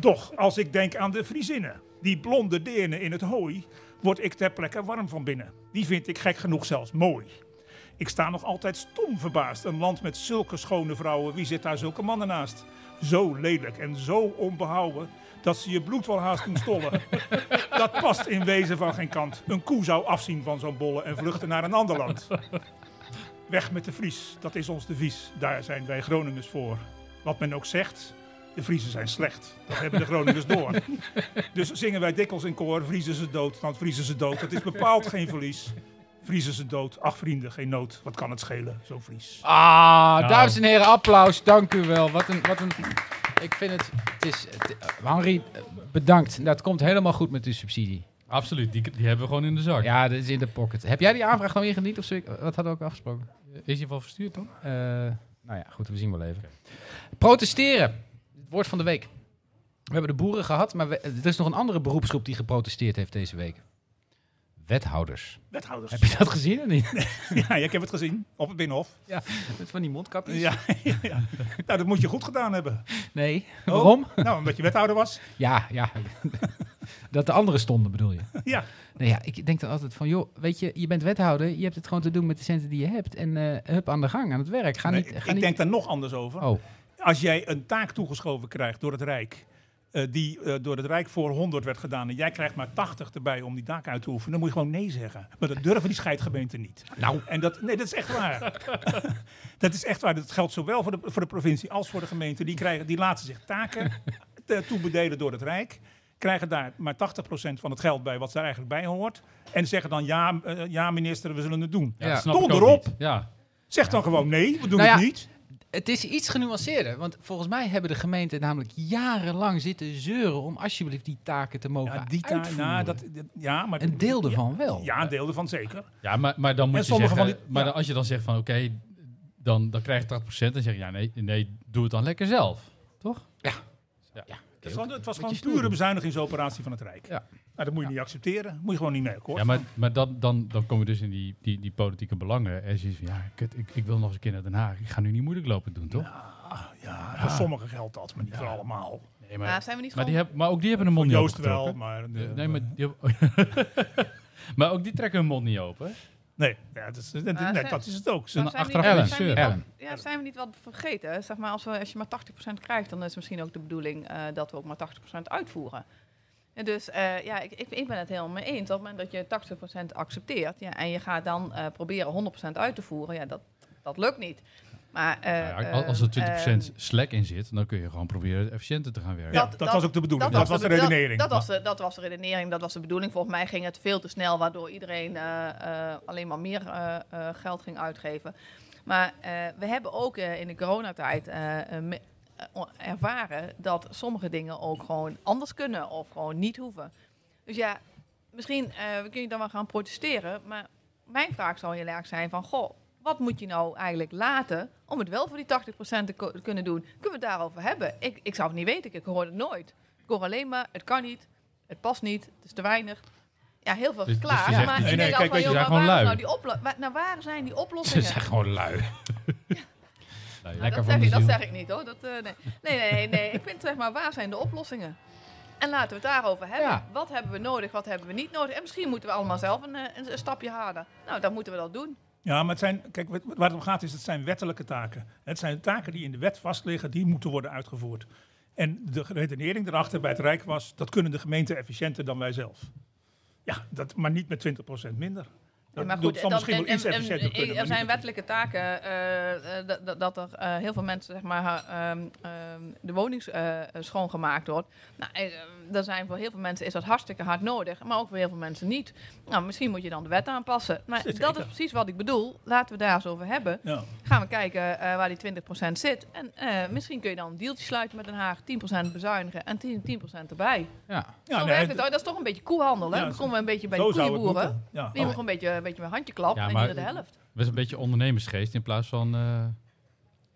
S3: Toch, als ik denk aan de Friesinnen, die blonde deernen in het hooi, word ik ter plekke warm van binnen. Die vind ik gek genoeg zelfs mooi. Ik sta nog altijd stom verbaasd. Een land met zulke schone vrouwen, wie zit daar zulke mannen naast? Zo lelijk en zo onbehouden dat ze je bloed wel haast doen stollen. dat past in wezen van geen kant. Een koe zou afzien van zo'n bolle en vluchten naar een ander land. Weg met de Fries, dat is ons devies. Daar zijn wij Groningers voor. Wat men ook zegt, de Vriezen zijn slecht. Dat hebben de Groningers door. Dus zingen wij dikwijls in koor, Vriezen ze dood, want Vriezen ze dood. Dat is bepaald geen verlies. Vriezen ze dood. Ach vrienden, geen nood. Wat kan het schelen, zo Vries.
S2: Ah, dames en heren, applaus. Dank u wel. Wat een, wat een, ik vind het, het is, het- Henri, eh, bedankt. Dat komt helemaal goed met uw subsidie.
S1: Absoluut, die, die hebben we gewoon in de zak.
S2: Ja, dat is in de pocket. Heb jij die aanvraag nou ingediend of zo? Wat hadden we ook afgesproken?
S1: Is je wel verstuurd dan?
S2: Eh, nou ja, goed, we zien wel even. Protesteren. Het woord van de week. We hebben de boeren gehad, maar we- er is nog een andere beroepsgroep die geprotesteerd heeft deze week. Wethouders.
S3: Wethouders.
S2: Heb je dat gezien of niet?
S3: Ja, ik heb het gezien. Op het Binnenhof.
S2: Met van die mondkapjes?
S3: Ja, ja, ja. Nou, dat moet je goed gedaan hebben.
S2: Nee.
S3: Oh.
S2: Waarom?
S3: Nou, omdat je wethouder was.
S2: Ja, ja. dat de anderen stonden bedoel je.
S3: Ja.
S2: Nou ja, ik denk dan altijd van, joh, weet je, je bent wethouder, je hebt het gewoon te doen met de centen die je hebt. En eh, hup, aan de gang, aan het werk. Ga
S3: Nee,
S2: niet, ga
S3: ik
S2: niet...
S3: denk daar nog anders over.
S2: Oh,
S3: Als jij een taak toegeschoven krijgt door het Rijk... eh, die eh, door het Rijk voor 100 werd gedaan... en jij krijgt maar 80 erbij om die taak uit te oefenen... dan moet je gewoon nee zeggen. Maar dat durven die scheidgemeenten niet.
S2: nou.
S3: En dat, nee, dat is echt waar. dat is echt waar. Dat geldt zowel voor de, voor de provincie als voor de gemeente. Die, krijgen, die laten zich taken te- toebedelen door het Rijk. Krijgen daar maar 80% van het geld bij wat daar eigenlijk bij hoort. En zeggen dan, ja, eh, ja minister, we zullen het doen.
S2: Ja.
S1: dat snap ik
S3: Donder
S1: ook
S3: op.
S1: niet. Ja,
S3: Zeg dan gewoon, nee, we doen
S2: Nou
S3: het
S2: ja,
S3: niet.
S2: Het is iets genuanceerder, want volgens mij hebben de gemeenten namelijk jarenlang zitten zeuren om alsjeblieft die taken te mogen
S3: Ja, die taak,
S2: uitvoeren.
S3: nou, dat, dat- ja, maar...
S2: Een deel ervan
S3: ja,
S2: wel.
S3: Ja, een deel ervan zeker.
S1: Ja, maar, maar dan moet
S3: En
S1: je
S3: sommige
S1: zeggen,
S3: van die-
S1: maar
S3: ja.
S1: dan- als je dan zegt van oké, dan, dan krijg je 80%, dan zeg je ja, nee, nee, doe het dan lekker zelf, toch?
S2: Ja.
S1: Ja.
S2: Ja.
S3: Het was, het was gewoon
S2: stoer
S3: pure
S2: doen.
S3: bezuinigingsoperatie van het Rijk.
S2: Ja.
S3: Nou, dat moet je niet accepteren. Moet je gewoon niet mee akkoord.
S1: Ja, maar, maar dan, dan, dan kom je dus in die, die, die politieke belangen. En zoiets van, ja, kut, ik, ik wil nog eens een keer naar Den Haag. Ik ga nu niet moeilijk lopen doen, toch?
S3: Ja, voor sommigen geldt dat, maar niet voor allemaal.
S1: Nee,
S6: Maar zijn we niet
S1: maar, die
S6: gewoon-
S1: hebben, maar ook die hebben een mond niet
S3: Joost
S1: open
S3: wel,
S1: getrokken.
S3: maar...
S1: Eh,
S3: de-
S1: Nee, maar, die hebben- maar ook die trekken hun mond niet open.
S3: Nee, ja, dat, is, dat,
S6: Maar
S3: nee,
S6: zijn-
S3: dat is het ook. Ze-
S6: Maar
S1: een
S6: zijn we
S1: achteraf
S6: niet- zijn we
S1: regisseur.
S6: niet wat-
S2: Ellen.
S6: Ja, zijn we niet wat vergeten? hè? Zeg maar, als, we, als je maar 80% krijgt, dan is misschien ook de bedoeling eh, dat we ook maar 80% uitvoeren. En dus eh, ja, ik, ik, ik ben het helemaal mee eens. Op het moment dat je 80% accepteert ja, en je gaat dan eh, proberen 100% uit te voeren, ja, dat, dat lukt niet. Maar, eh,
S1: Nou ja, als
S6: ehm,
S1: er 20%
S6: ehm,
S1: slack in zit, dan kun je gewoon proberen efficiënter te gaan werken.
S3: ja,
S6: dat-
S3: dat,
S6: dat-
S3: was ook de bedoeling. Dat, was de
S6: be-
S3: redenering.
S6: Dat, was de, dat was de redenering, dat was de bedoeling. Volgens mij ging het veel te snel, waardoor iedereen eh, eh, alleen maar meer eh, eh, geld ging uitgeven. Maar eh, we hebben ook eh, in de coronatijd eh, eh, me- eh, o- ervaren dat sommige dingen ook gewoon anders kunnen of gewoon niet hoeven. Dus ja, misschien eh, kun je dan wel gaan protesteren, maar mijn vraag zou heel erg zijn van, goh, wat moet je nou eigenlijk laten om het wel voor die 80% te ko- kunnen doen? Kunnen we het daarover hebben? Ik, ik zou het niet weten, ik hoor het nooit. Ik hoor alleen maar, het kan niet, het past niet, het is te weinig. Ja, heel veel
S1: Dus- dus
S6: klaar.
S1: je zegt-
S6: maar
S1: Nee,
S3: nee,
S6: ik denk
S3: kijk,
S6: altijd
S1: weet je,
S6: van,
S1: ze
S6: joh,
S1: zijn
S6: maar
S1: gewoon lui.
S6: waar, nou die oplo- waar- nou, waar zijn die oplossingen?
S2: gewoon lui.
S1: Nou, ja.
S6: Nou, dat,
S2: Lekker
S6: zeg ik,
S2: van
S6: dat
S2: de
S6: zeg ik niet hoor. Dat, eh, nee. Nee, nee, nee, nee. Ik vind zeg maar, waar zijn de oplossingen? En laten we het daarover hebben.
S2: Ja.
S6: Wat hebben we nodig, wat hebben we niet nodig? En misschien moeten we allemaal zelf een, eh, een, een stapje harder. Nou, dan moeten we dat doen.
S3: Ja, maar het zijn, kijk, wat- waar het om gaat is, het zijn wettelijke taken. Het zijn taken die in de wet vastliggen, die moeten worden uitgevoerd. En de redenering erachter bij het Rijk was, dat kunnen de gemeenten efficiënter dan wij zelf. Ja, dat, maar niet met 20% minder. Dat,
S6: maar
S3: dat zal
S6: dan-
S3: misschien wel
S6: en-
S3: iets
S6: en-
S3: efficiënter
S6: en-
S3: kunnen.
S6: Er
S3: maar
S6: zijn
S3: niet-
S6: wettelijke taken eh, eh, dat- dat- dat er eh, heel veel mensen zeg maar, eh, ehm, ehm, de woning eh, schoongemaakt wordt. Nou, eh, er zijn voor heel veel mensen is dat hartstikke hard nodig, maar ook voor heel veel mensen niet. Nou, misschien moet je dan de wet aanpassen. Maar
S3: Zeker.
S6: dat is precies wat ik bedoel. Laten we daar eens over hebben.
S3: Ja.
S6: Gaan we kijken eh, waar die 20% zit. En eh, misschien kun je dan een deeltje sluiten met Den Haag. 10% bezuinigen en 10%, 10% erbij.
S2: Ja.
S3: Ja,
S6: zo
S3: nee,
S6: werkt het. ook. Dat is toch een beetje koehandel, hè?
S3: Ja,
S6: dan
S3: zo-
S6: komen we een beetje bij
S3: zo
S6: de
S3: zou het
S6: koeienboeren.
S3: moeten. Ja.
S6: Die mag een beetje, een beetje met handje klap
S1: Oh. Ja,
S6: en
S1: maar-
S6: hier de helft.
S1: Dat is een beetje ondernemersgeest in plaats van eh,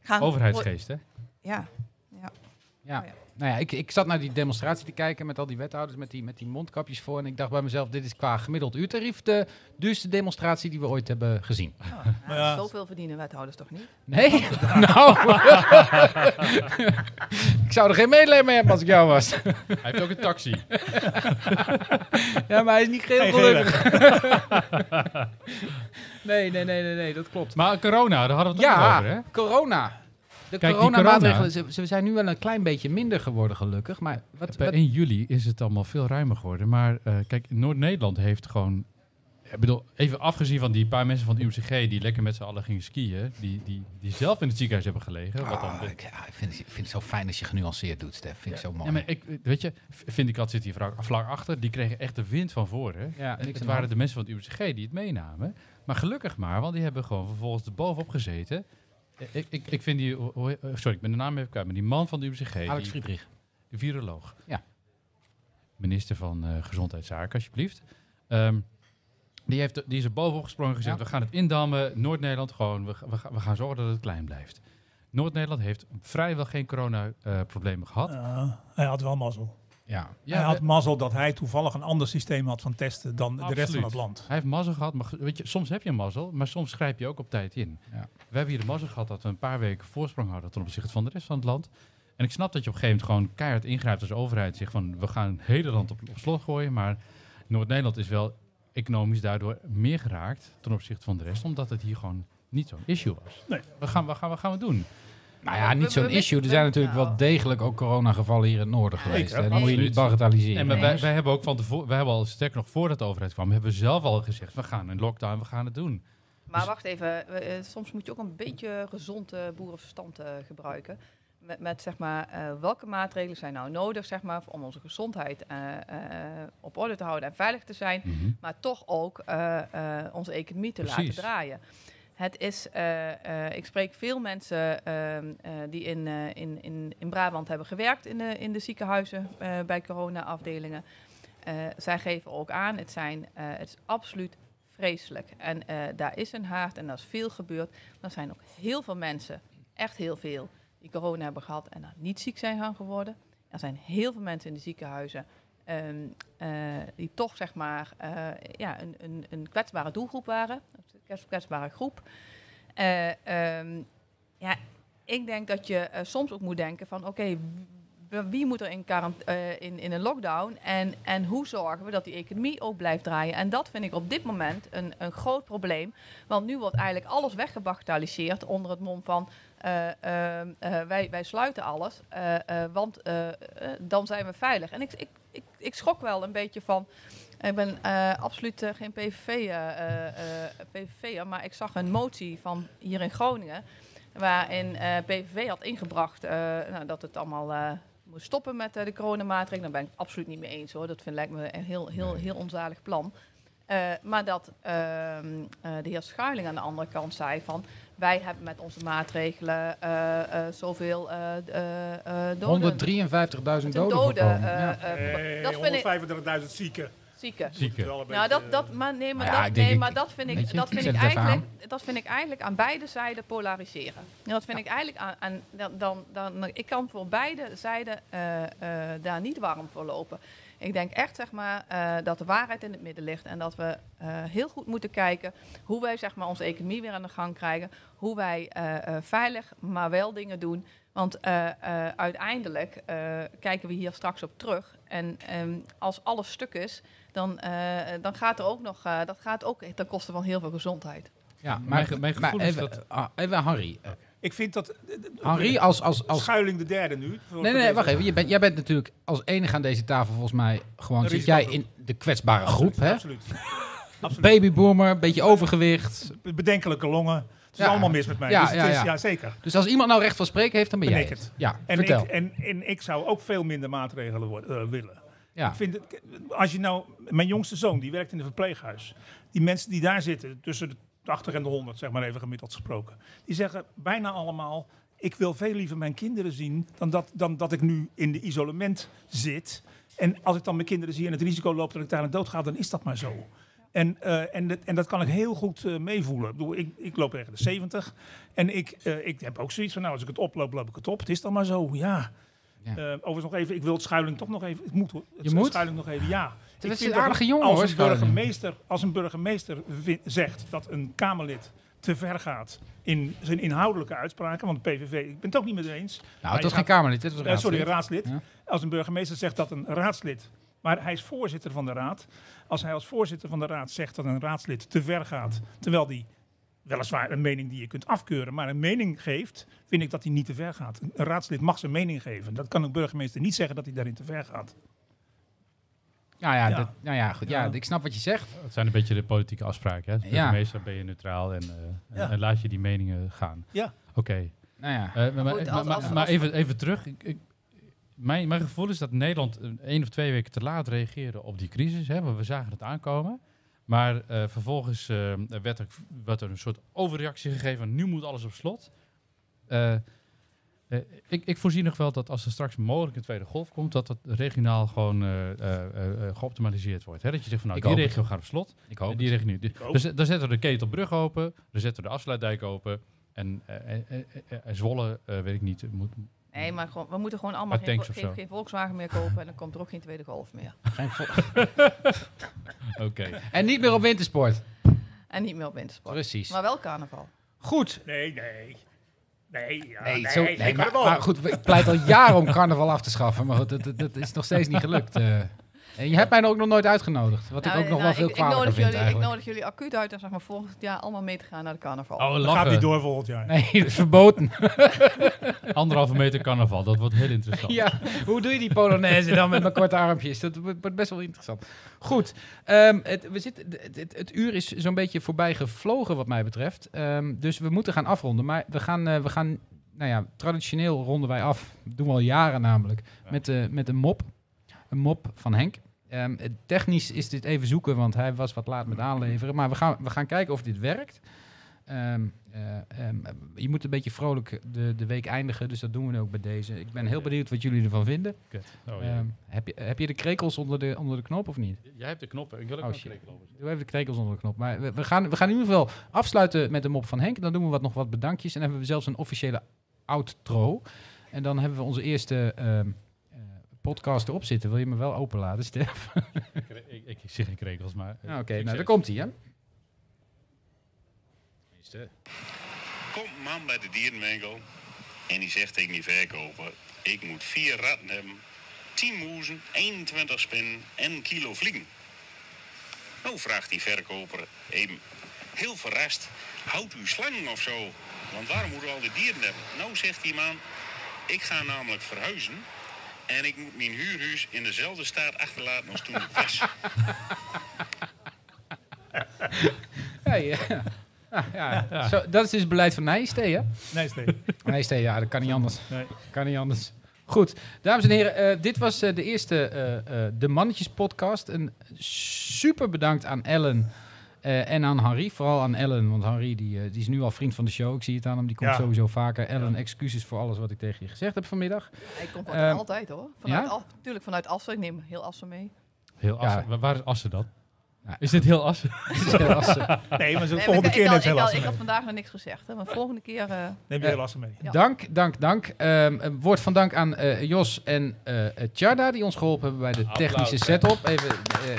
S6: Gaan
S1: overheidsgeest, hè?
S6: Ja.
S2: Ja.
S6: Oh ja.
S2: Nou ja, ik, ik zat naar die demonstratie te kijken met al die wethouders met die, met die mondkapjes voor. En ik dacht bij mezelf, dit is qua gemiddeld uurtarief de duurste demonstratie die we ooit hebben gezien.
S3: Maar ja,
S6: Zoveel verdienen wethouders toch niet?
S2: Nee? nou. ik zou er geen medelijden mee hebben als ik jou was.
S1: Hij heeft ook een taxi.
S2: ja, maar hij is niet geheel
S3: Geen
S2: gelukkig. nee, nee, nee, nee, nee, dat klopt.
S1: Maar corona, daar hadden we het ook
S2: Ja,
S1: over, hè?
S2: corona. De
S1: Kijk, die
S2: coronamaatregelen, ze, ze zijn nu wel een klein beetje minder geworden gelukkig. Maar wat,
S1: Bij
S2: wat-
S1: 1 juli is het allemaal veel ruimer geworden. Maar eh, kijk, Noord-Nederland heeft gewoon... Ik bedoel, even afgezien van die paar mensen van het UMCG... die lekker met z'n allen gingen skiën... die, die, die zelf in het ziekenhuis hebben gelegen. Wat dan
S2: Ah, ik, ja, ik vind, het- ik vind het zo fijn als je genuanceerd doet, Stef. Vind ik zo mooi.
S1: Ja, maar ik, weet je, Vindicat zit hier vlak, vlak achter. Die kregen echt de wind van voren.
S2: Ja,
S1: het
S2: niks aan de
S1: waren
S2: hand.
S1: de mensen van het UMCG die het meenamen. Maar gelukkig maar, want die hebben gewoon vervolgens er bovenop gezeten. Eh, Ik, ik, ik vind die... hoe- hoe- eh, Sorry, ik ben de naam even kwijt. Maar die man van de UMCG...
S2: Alex
S1: die-
S2: Friedrich.
S1: de viroloog.
S2: Ja.
S1: Minister van eh, Gezondheidszaken, alsjeblieft. Ehm, die, heeft, die is er bovenop gesprongen en gezegd,
S2: Ja.
S1: we gaan het indammen. Noord-Nederland gewoon, we, ga- we, ga- we gaan zorgen dat het klein blijft. Noord-Nederland heeft vrijwel geen corona-problemen gehad.
S3: ja, hij had wel mazzel.
S2: Ja.
S1: Ja,
S3: Eh, hij had
S1: eh,
S3: mazzel dat hij toevallig een ander systeem had van testen dan de rest van
S1: Absoluut.
S3: het land.
S1: Hij heeft mazzel gehad, maar ge- weet je, soms heb je mazzel, maar soms schrijf je ook op tijd in.
S2: Ja.
S1: We hebben hier de mazzel gehad dat we een paar weken voorsprong hadden ten opzichte van de rest van het land. En ik snap dat je op een gegeven moment gewoon keihard ingrijpt als overheid. en Zegt van, we gaan het hele land op, op slot gooien, maar Noord-Nederland is wel economisch daardoor meer geraakt ten opzichte van de rest, omdat het hier gewoon niet zo'n issue was.
S3: Nee.
S1: Wat gaan, wat gaan, wat gaan we doen?
S2: Nou ja, niet zo'n
S6: We- we-
S2: issue. Er
S6: we-
S2: zijn natuurlijk
S6: nou.
S2: wel degelijk ook coronagevallen hier in het noorden geweest.
S3: Zeker,
S2: hè. Dat moet je
S1: absoluut.
S2: niet bagatelliseren.
S1: Nee, maar wij,
S2: jongens.
S1: wij hebben ook van tevoren, wij hebben al sterk nog voordat de overheid kwam, hebben we zelf al gezegd, we gaan een lockdown, we gaan het doen. Dus-
S6: Maar wacht even, we, eh, soms moet je ook een beetje gezond eh, boerenverstand eh, gebruiken. Met, met zeg maar, eh, welke maatregelen zijn nou nodig zeg maar, om onze gezondheid eh, eh, op orde
S3: Mhm.
S6: te houden en veilig te zijn. maar toch ook eh, eh, onze economie te
S1: Mm. Precies.
S6: laten draaien. Het is, eh, eh, ik spreek veel mensen ehm, eh, die in, eh, in, in, in Brabant hebben gewerkt in de, in de ziekenhuizen eh, bij corona-afdelingen. Eh, zij geven ook aan, het, zijn, eh, het is absoluut vreselijk. En eh, daar is een haard en daar is veel gebeurd. Maar er zijn ook heel veel mensen, echt heel veel, die corona hebben gehad en daar niet ziek zijn gaan geworden. Er zijn heel veel mensen in de ziekenhuizen ehm, eh, die toch zeg maar eh, ja, een, een, een kwetsbare doelgroep waren. Een kwets- kwetsbare groep. Eh, ehm, ja, ik denk dat je eh, soms ook moet denken van oké, w- wie moet er in, quarant- eh, in, in een lockdown en, en hoe zorgen we dat die economie ook blijft draaien. En dat vind ik op dit moment een, een groot probleem. Want nu wordt eigenlijk alles weggebagatelliseerd onder het mom van eh, ehm, eh, wij, wij sluiten alles, eh, eh, want eh, eh, dan zijn we veilig. En ik, ik, ik, ik schrok wel een beetje van. Ik ben eh, absoluut eh, geen PVV, eh, eh, eh, PVV'er, maar ik zag een motie van hier in Groningen. Waarin eh, PVV had ingebracht eh, nou, dat het allemaal eh, moest stoppen met eh, de coronamaatregelen. Daar ben ik absoluut niet mee eens hoor. Dat vind, lijkt me een heel, heel, heel onzalig plan. Eh, maar dat ehm, eh, de heer Schuiling aan de andere kant zei van... wij hebben met onze maatregelen eh, eh, zoveel eh eh, eh, doden.
S2: 153.000 doden.
S6: doden,
S2: voorkomen.
S6: eh,
S2: Ja.
S6: eh,
S3: Nee,
S6: dat vind ik
S3: 135.000 zieken.
S6: zieken.
S1: Zieken.
S3: Wel een
S6: Nou,
S3: beetje, eh,
S6: dat, dat, maar nee, maar,
S2: Nou ja,
S6: dat,
S2: ik denk
S6: nee,
S2: ik-
S6: maar dat vind
S2: weet
S6: ik,
S2: je,
S6: dat
S2: ik
S6: vind
S2: zet
S6: ik
S2: het even
S6: eigenlijk, dat vind ik eigenlijk aan beide zijden polariseren. En dat vind ik eigenlijk aan, aan dan, dan, dan, ik kan voor beide zijden eh, eh, daar niet warm voor lopen. Ik denk echt zeg maar, eh, dat de waarheid in het midden ligt en dat we eh, heel goed moeten kijken hoe wij zeg maar, onze economie weer aan de gang krijgen. Hoe wij eh, eh, veilig, maar wel dingen doen. Want eh, eh, uiteindelijk eh, kijken we hier straks op terug. En ehm, als alles stuk is, dan, eh, dan gaat er ook nog, eh, dat gaat ook ten koste van heel veel gezondheid.
S2: Ja, maar,
S1: Mijn ge- mijn
S2: maar
S1: gevoel is
S2: even, ah, even aan Harry.
S3: Ik vind dat...
S2: Harry als... als, als
S3: Schuiling de derde nu.
S2: Oh. nee, nee, wacht even. Je bent, jij bent natuurlijk als enige aan deze tafel volgens mij gewoon...
S3: Een
S2: Zit jij in
S3: risicogroep.
S2: de kwetsbare groep, hè?
S3: Absoluut.
S2: Babyboomer, beetje overgewicht.
S3: Bedenkelijke longen. Het is
S2: Ja.
S3: allemaal mis met mij.
S2: Ja,
S3: dus het
S2: ja,
S3: is,
S2: ja.
S3: ja, zeker.
S2: Dus als iemand nou recht van spreken heeft, dan ben
S3: Ben
S2: jij
S3: ik het.
S2: Ja,
S3: En ik,
S2: vertel.
S3: en, en ik zou ook veel minder maatregelen worden, eh, willen.
S2: ja.
S3: Ik vind het, als je nou, mijn jongste zoon, die werkt in een verpleeghuis. Die mensen die daar zitten, tussen de 80 en de 100, zeg maar even gemiddeld gesproken. Die zeggen bijna allemaal, ik wil veel liever mijn kinderen zien dan dat, dan dat ik nu in de isolement zit. En als ik dan mijn kinderen zie en het risico loopt dat ik daar aan dood ga, dan is dat maar zo. En, eh, en, dat, en dat kan ik heel goed eh, meevoelen. Ik, bedoel, ik, ik loop tegen de 70 en ik, eh, ik heb ook zoiets van, nou, als ik het oploop, loop ik het op. Het is dan maar zo, ja.
S2: Ja.
S3: Eh, overigens nog even, ik wil het schuiling toch nog even. Het moet hoor. Het
S2: Je moet?
S3: Schuiling nog even, ja. Ik
S2: is
S3: vind
S2: een aardige
S3: dat
S2: jongen, hoor,
S3: als een
S2: Schuiling.
S3: burgemeester, Als een burgemeester vi- zegt dat een Kamerlid te ver gaat in zijn inhoudelijke uitspraken, want de PVV, ik ben het ook niet met eens. maar
S2: nou, het was
S3: je
S2: geen
S3: gaat-
S2: Kamerlid, dit was een
S3: eh, sorry, een
S2: raadslid.
S3: raadslid.
S2: Ja.
S3: Als een burgemeester zegt dat een raadslid. Maar hij is voorzitter van de raad. Als hij als voorzitter van de raad zegt dat een raadslid te ver gaat. terwijl die weliswaar een mening die je kunt afkeuren. maar een mening geeft. vind ik dat hij niet te ver gaat. Een raadslid mag zijn mening geven. Dat kan een burgemeester niet zeggen dat hij daarin te ver gaat.
S2: Ja, ja,
S3: Ja.
S2: dat, nou ja, goed. Ja,
S3: Ja.
S2: ik snap wat je zegt.
S1: Het zijn een beetje de politieke afspraken. Hè? Als
S2: Ja.
S1: burgemeester ben je neutraal en, eh, en-
S3: Ja.
S1: en laat je die meningen gaan.
S3: Ja.
S1: Oké.
S2: Nou ja.
S1: Eh, maar, maar-
S6: Goed, als-
S1: maar- maar-
S6: als-
S1: maar
S6: als-
S1: even, even terug. Ik, ik- mijn, mijn gevoel is dat Nederland een- één of twee weken te laat reageerde op die crisis. Hè, want we zagen het aankomen. Maar eh, vervolgens eh, werd, er, werd er een soort overreactie gegeven. Nu moet alles op slot. Eh, eh, ik, ik voorzie nog wel dat als er straks mogelijk een tweede golf komt, dat dat regionaal gewoon eh, eh, eh, eh, geoptimaliseerd wordt. Hè? Dat je zegt van nou,
S2: Ik
S1: die
S2: hoop
S1: regio gaat op slot.
S2: ik hoop
S1: En die richting nu.
S3: hoop
S1: Dus eh, dan zetten we de Ketelbrug open, dan zetten we de afsluitdijk open. En eh, eh, eh, eh, eh, Zwolle, eh, weet ik niet, moet,
S6: Nee,
S2: Hmm.
S6: maar gewoon, we moeten gewoon allemaal
S1: Maar
S6: geen,
S1: tanks of
S6: geen,
S1: zo.
S6: geen Volkswagen meer kopen en dan komt er ook geen tweede golf meer.
S1: oké.
S2: En niet meer op wintersport.
S6: En niet meer op wintersport.
S2: Precies.
S6: Maar wel carnaval.
S2: Goed.
S3: Nee, nee. Nee, ja,
S2: Nee,
S3: nee,
S2: zo, nee,
S3: nee,
S2: maar,
S3: carnaval.
S2: maar goed, ik pleit al jaren om carnaval af te schaffen. Maar goed, dat, dat, dat is nog steeds niet gelukt. eh. en je hebt mij er ook nog nooit uitgenodigd. Wat
S6: Nou,
S2: ik ook nog
S6: nou,
S2: wel veel
S6: ik, ik,
S2: kwalijker
S6: nodig
S2: vind
S6: jullie, ik
S2: eigenlijk.
S6: nodig jullie acuut uit en zeg maar volgend jaar allemaal mee te gaan naar de carnaval.
S1: Oh,
S3: Dat gaat niet door volgend jaar.
S2: Nee, dat is verboden.
S1: Anderhalve meter carnaval, dat wordt heel interessant.
S2: Ja, hoe doe je die Polonaise dan met mijn korte armpjes? Dat wordt wordt best wel interessant. Goed, ehm, het, we zitten, het, het, het uur is zo'n beetje voorbij gevlogen wat mij betreft. Ehm, dus we moeten gaan afronden. Maar we gaan, eh, we gaan nou ja, traditioneel ronden wij af. Dat doen we al jaren namelijk. Met, eh, met een mop. Een mop van Henk. Ehm, eh, technisch is dit even zoeken, want hij was wat laat met aanleveren. Maar we gaan, we gaan kijken of dit werkt. ehm, eh, ehm, je moet een beetje vrolijk de, de week eindigen. Dus dat doen we ook bij deze. Ik ben heel benieuwd wat jullie ervan vinden.
S1: Kut. Oh, ja.
S2: Ehm, heb, je, heb je de krekels onder de, onder de knop of niet?
S1: Jij hebt de knoppen. Ik wil ook
S2: Oh,
S1: een
S2: shit.
S1: krekel over.
S2: Doe even de krekels onder de knop. Maar we, we gaan, we gaan in ieder geval afsluiten met de mop van Henk. Dan doen we wat, nog wat bedankjes. En dan hebben we zelfs een officiële outro. En dan hebben we onze eerste ehm, eh, podcast erop zitten. Wil je me wel openladen, Stef?
S1: Ik, ik, ik zie geen krekels, maar... eh,
S2: Nou, Oké, nou daar
S1: succes.
S2: komt hij, hè?
S1: Tenminste,
S8: Komt een man bij de dierenwinkel en die zegt tegen die verkoper: Ik moet vier ratten hebben, 10 moezen, 21 spinnen en een kilo vliegen. Nou vraagt die verkoper hem heel verrast: Houdt u slangen of zo? Want waarom moeten we al die dieren hebben? Nou zegt die man: Ik ga namelijk verhuizen en ik moet mijn huurhuis in dezelfde staat achterlaten als toen ik was.
S2: Hey, ja. Ah, ja. Zo, dat is dus het beleid van Nijstee, hè?
S3: Nee, Steve.
S2: Nijstee, ja, dat kan niet anders.
S3: Nee.
S2: Kan niet anders. Goed, dames en heren, eh, dit was eh, de eerste eh, eh, De Mannetjes podcast. En super bedankt aan Ellen eh, en aan Harry. Vooral aan Ellen, want Harry die, eh, die is nu al vriend van de show. Ik zie het aan hem, die komt
S3: Ja.
S2: sowieso vaker. Ellen, excuses voor alles wat ik tegen je gezegd heb vanmiddag.
S6: Hij komt
S2: Eh,
S6: altijd hoor. Vanuit
S2: ja?
S6: Al- Natuurlijk vanuit Assen. Ik neem heel Assen mee.
S1: heel
S2: Ja.
S1: Assen. Wa- Waar is Assen dan?
S2: Ja.
S1: Is dit heel Assen?
S2: eh,
S3: Nee, maar ze
S6: Nee,
S3: volgende
S6: maar
S3: keer
S6: ik,
S3: neemt
S6: had,
S3: ze
S6: ik,
S3: heel
S6: had,
S3: lassen
S6: ik had
S3: mee.
S6: vandaag nog niks gezegd. Hè, maar volgende keer... eh,
S3: Neem je heel lassen mee.
S6: Ja.
S2: Dank, dank, dank. Ehm, eh, woord van dank aan eh, Jos en eh eh, Tjarda, die ons geholpen hebben bij de
S1: Applaus,
S2: technische
S1: hè.
S2: setup. Even eh,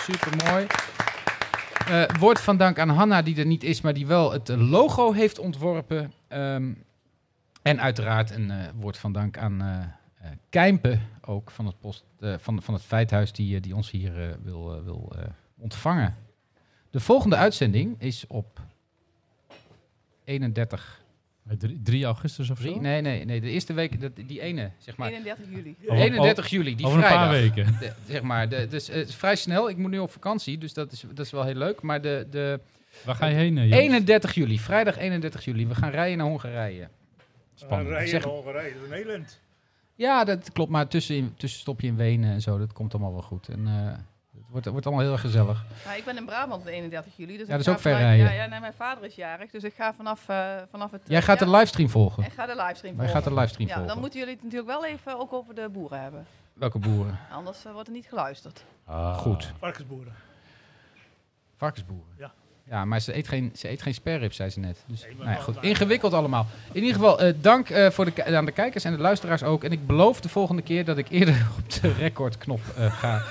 S2: super mooi. Eh, woord van dank aan Hanna, die er niet is, maar die wel het eh, logo heeft ontworpen. Ehm, en uiteraard een eh, woord van dank aan eh eh, Kijmpen, ook van het, post, eh, van, van het Feithuis, die, eh, die ons hier eh, wil, eh, wil eh, ontvangen. De volgende uitzending is op 31
S1: Eh, drie- 3 augustus of zo?
S2: Drie? Nee, nee, nee. De eerste week, dat, die ene, zeg maar.
S6: 31 juli.
S1: Over-
S2: 31 juli, die
S1: Oh, over een
S2: vrijdag.
S1: paar weken.
S2: De- zeg maar, de, dus eh, het is vrij snel. Ik moet nu op vakantie, dus dat is, dat is wel heel leuk. Maar de, de
S1: Waar ga je heen, eh, Joost?
S2: 31 juli, vrijdag 31 juli, we gaan rijden naar Hongarije.
S1: Spannend.
S3: Rijden
S2: Zeg-
S3: in Hongarije, dat is een elend.
S2: Ja, dat klopt. Maar tussen, tussen stop je in Wenen en zo, dat komt allemaal wel goed. En eh, het wordt, het wordt allemaal heel erg gezellig.
S6: Nou, ik ben in Brabant op 31 juli. Dus
S2: Ja,
S6: ik
S2: dat is
S6: ga
S2: ook ver
S6: vanuit-
S2: rijden.
S6: Ja, ja nee, mijn vader is jarig, dus ik ga vanaf, eh, vanaf het...
S2: Jij gaat
S6: ja,
S2: de livestream volgen.
S6: Ik ga de livestream
S2: Wij
S6: volgen.
S2: gaan de livestream
S6: ja,
S2: volgen.
S6: dan moeten jullie het natuurlijk wel even ook over de boeren hebben.
S2: Welke boeren?
S6: Anders eh, wordt er niet geluisterd.
S1: Ah.
S2: Goed.
S3: Varkensboeren.
S2: Varkensboeren.
S3: Ja.
S2: Ja, maar ze eet geen, ze eet geen sperrib, zei ze net. Dus,
S3: Nee, maar
S2: nou ja,
S3: wel
S2: goed,
S3: waar.
S2: ingewikkeld allemaal. In ieder geval, eh, dank eh, voor de, ki- aan de kijkers en de luisteraars ook. En ik beloof de volgende keer dat ik eerder op de recordknop eh, ga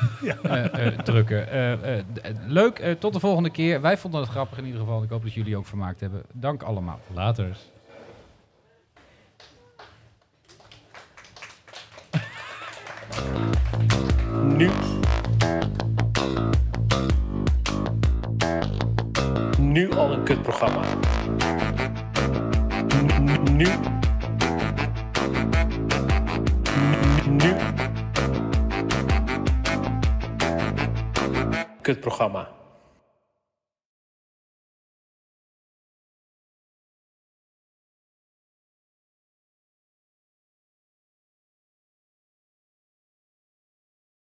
S2: eh, eh, drukken. Eh, eh, d- eh, leuk, eh, tot de volgende keer. Wij vonden het grappig in ieder geval. Ik hoop dat jullie ook vermaakt hebben. Dank allemaal.
S1: Later.
S9: Nu. Nu al een kutprogramma. Nu. Nu. Kutprogramma.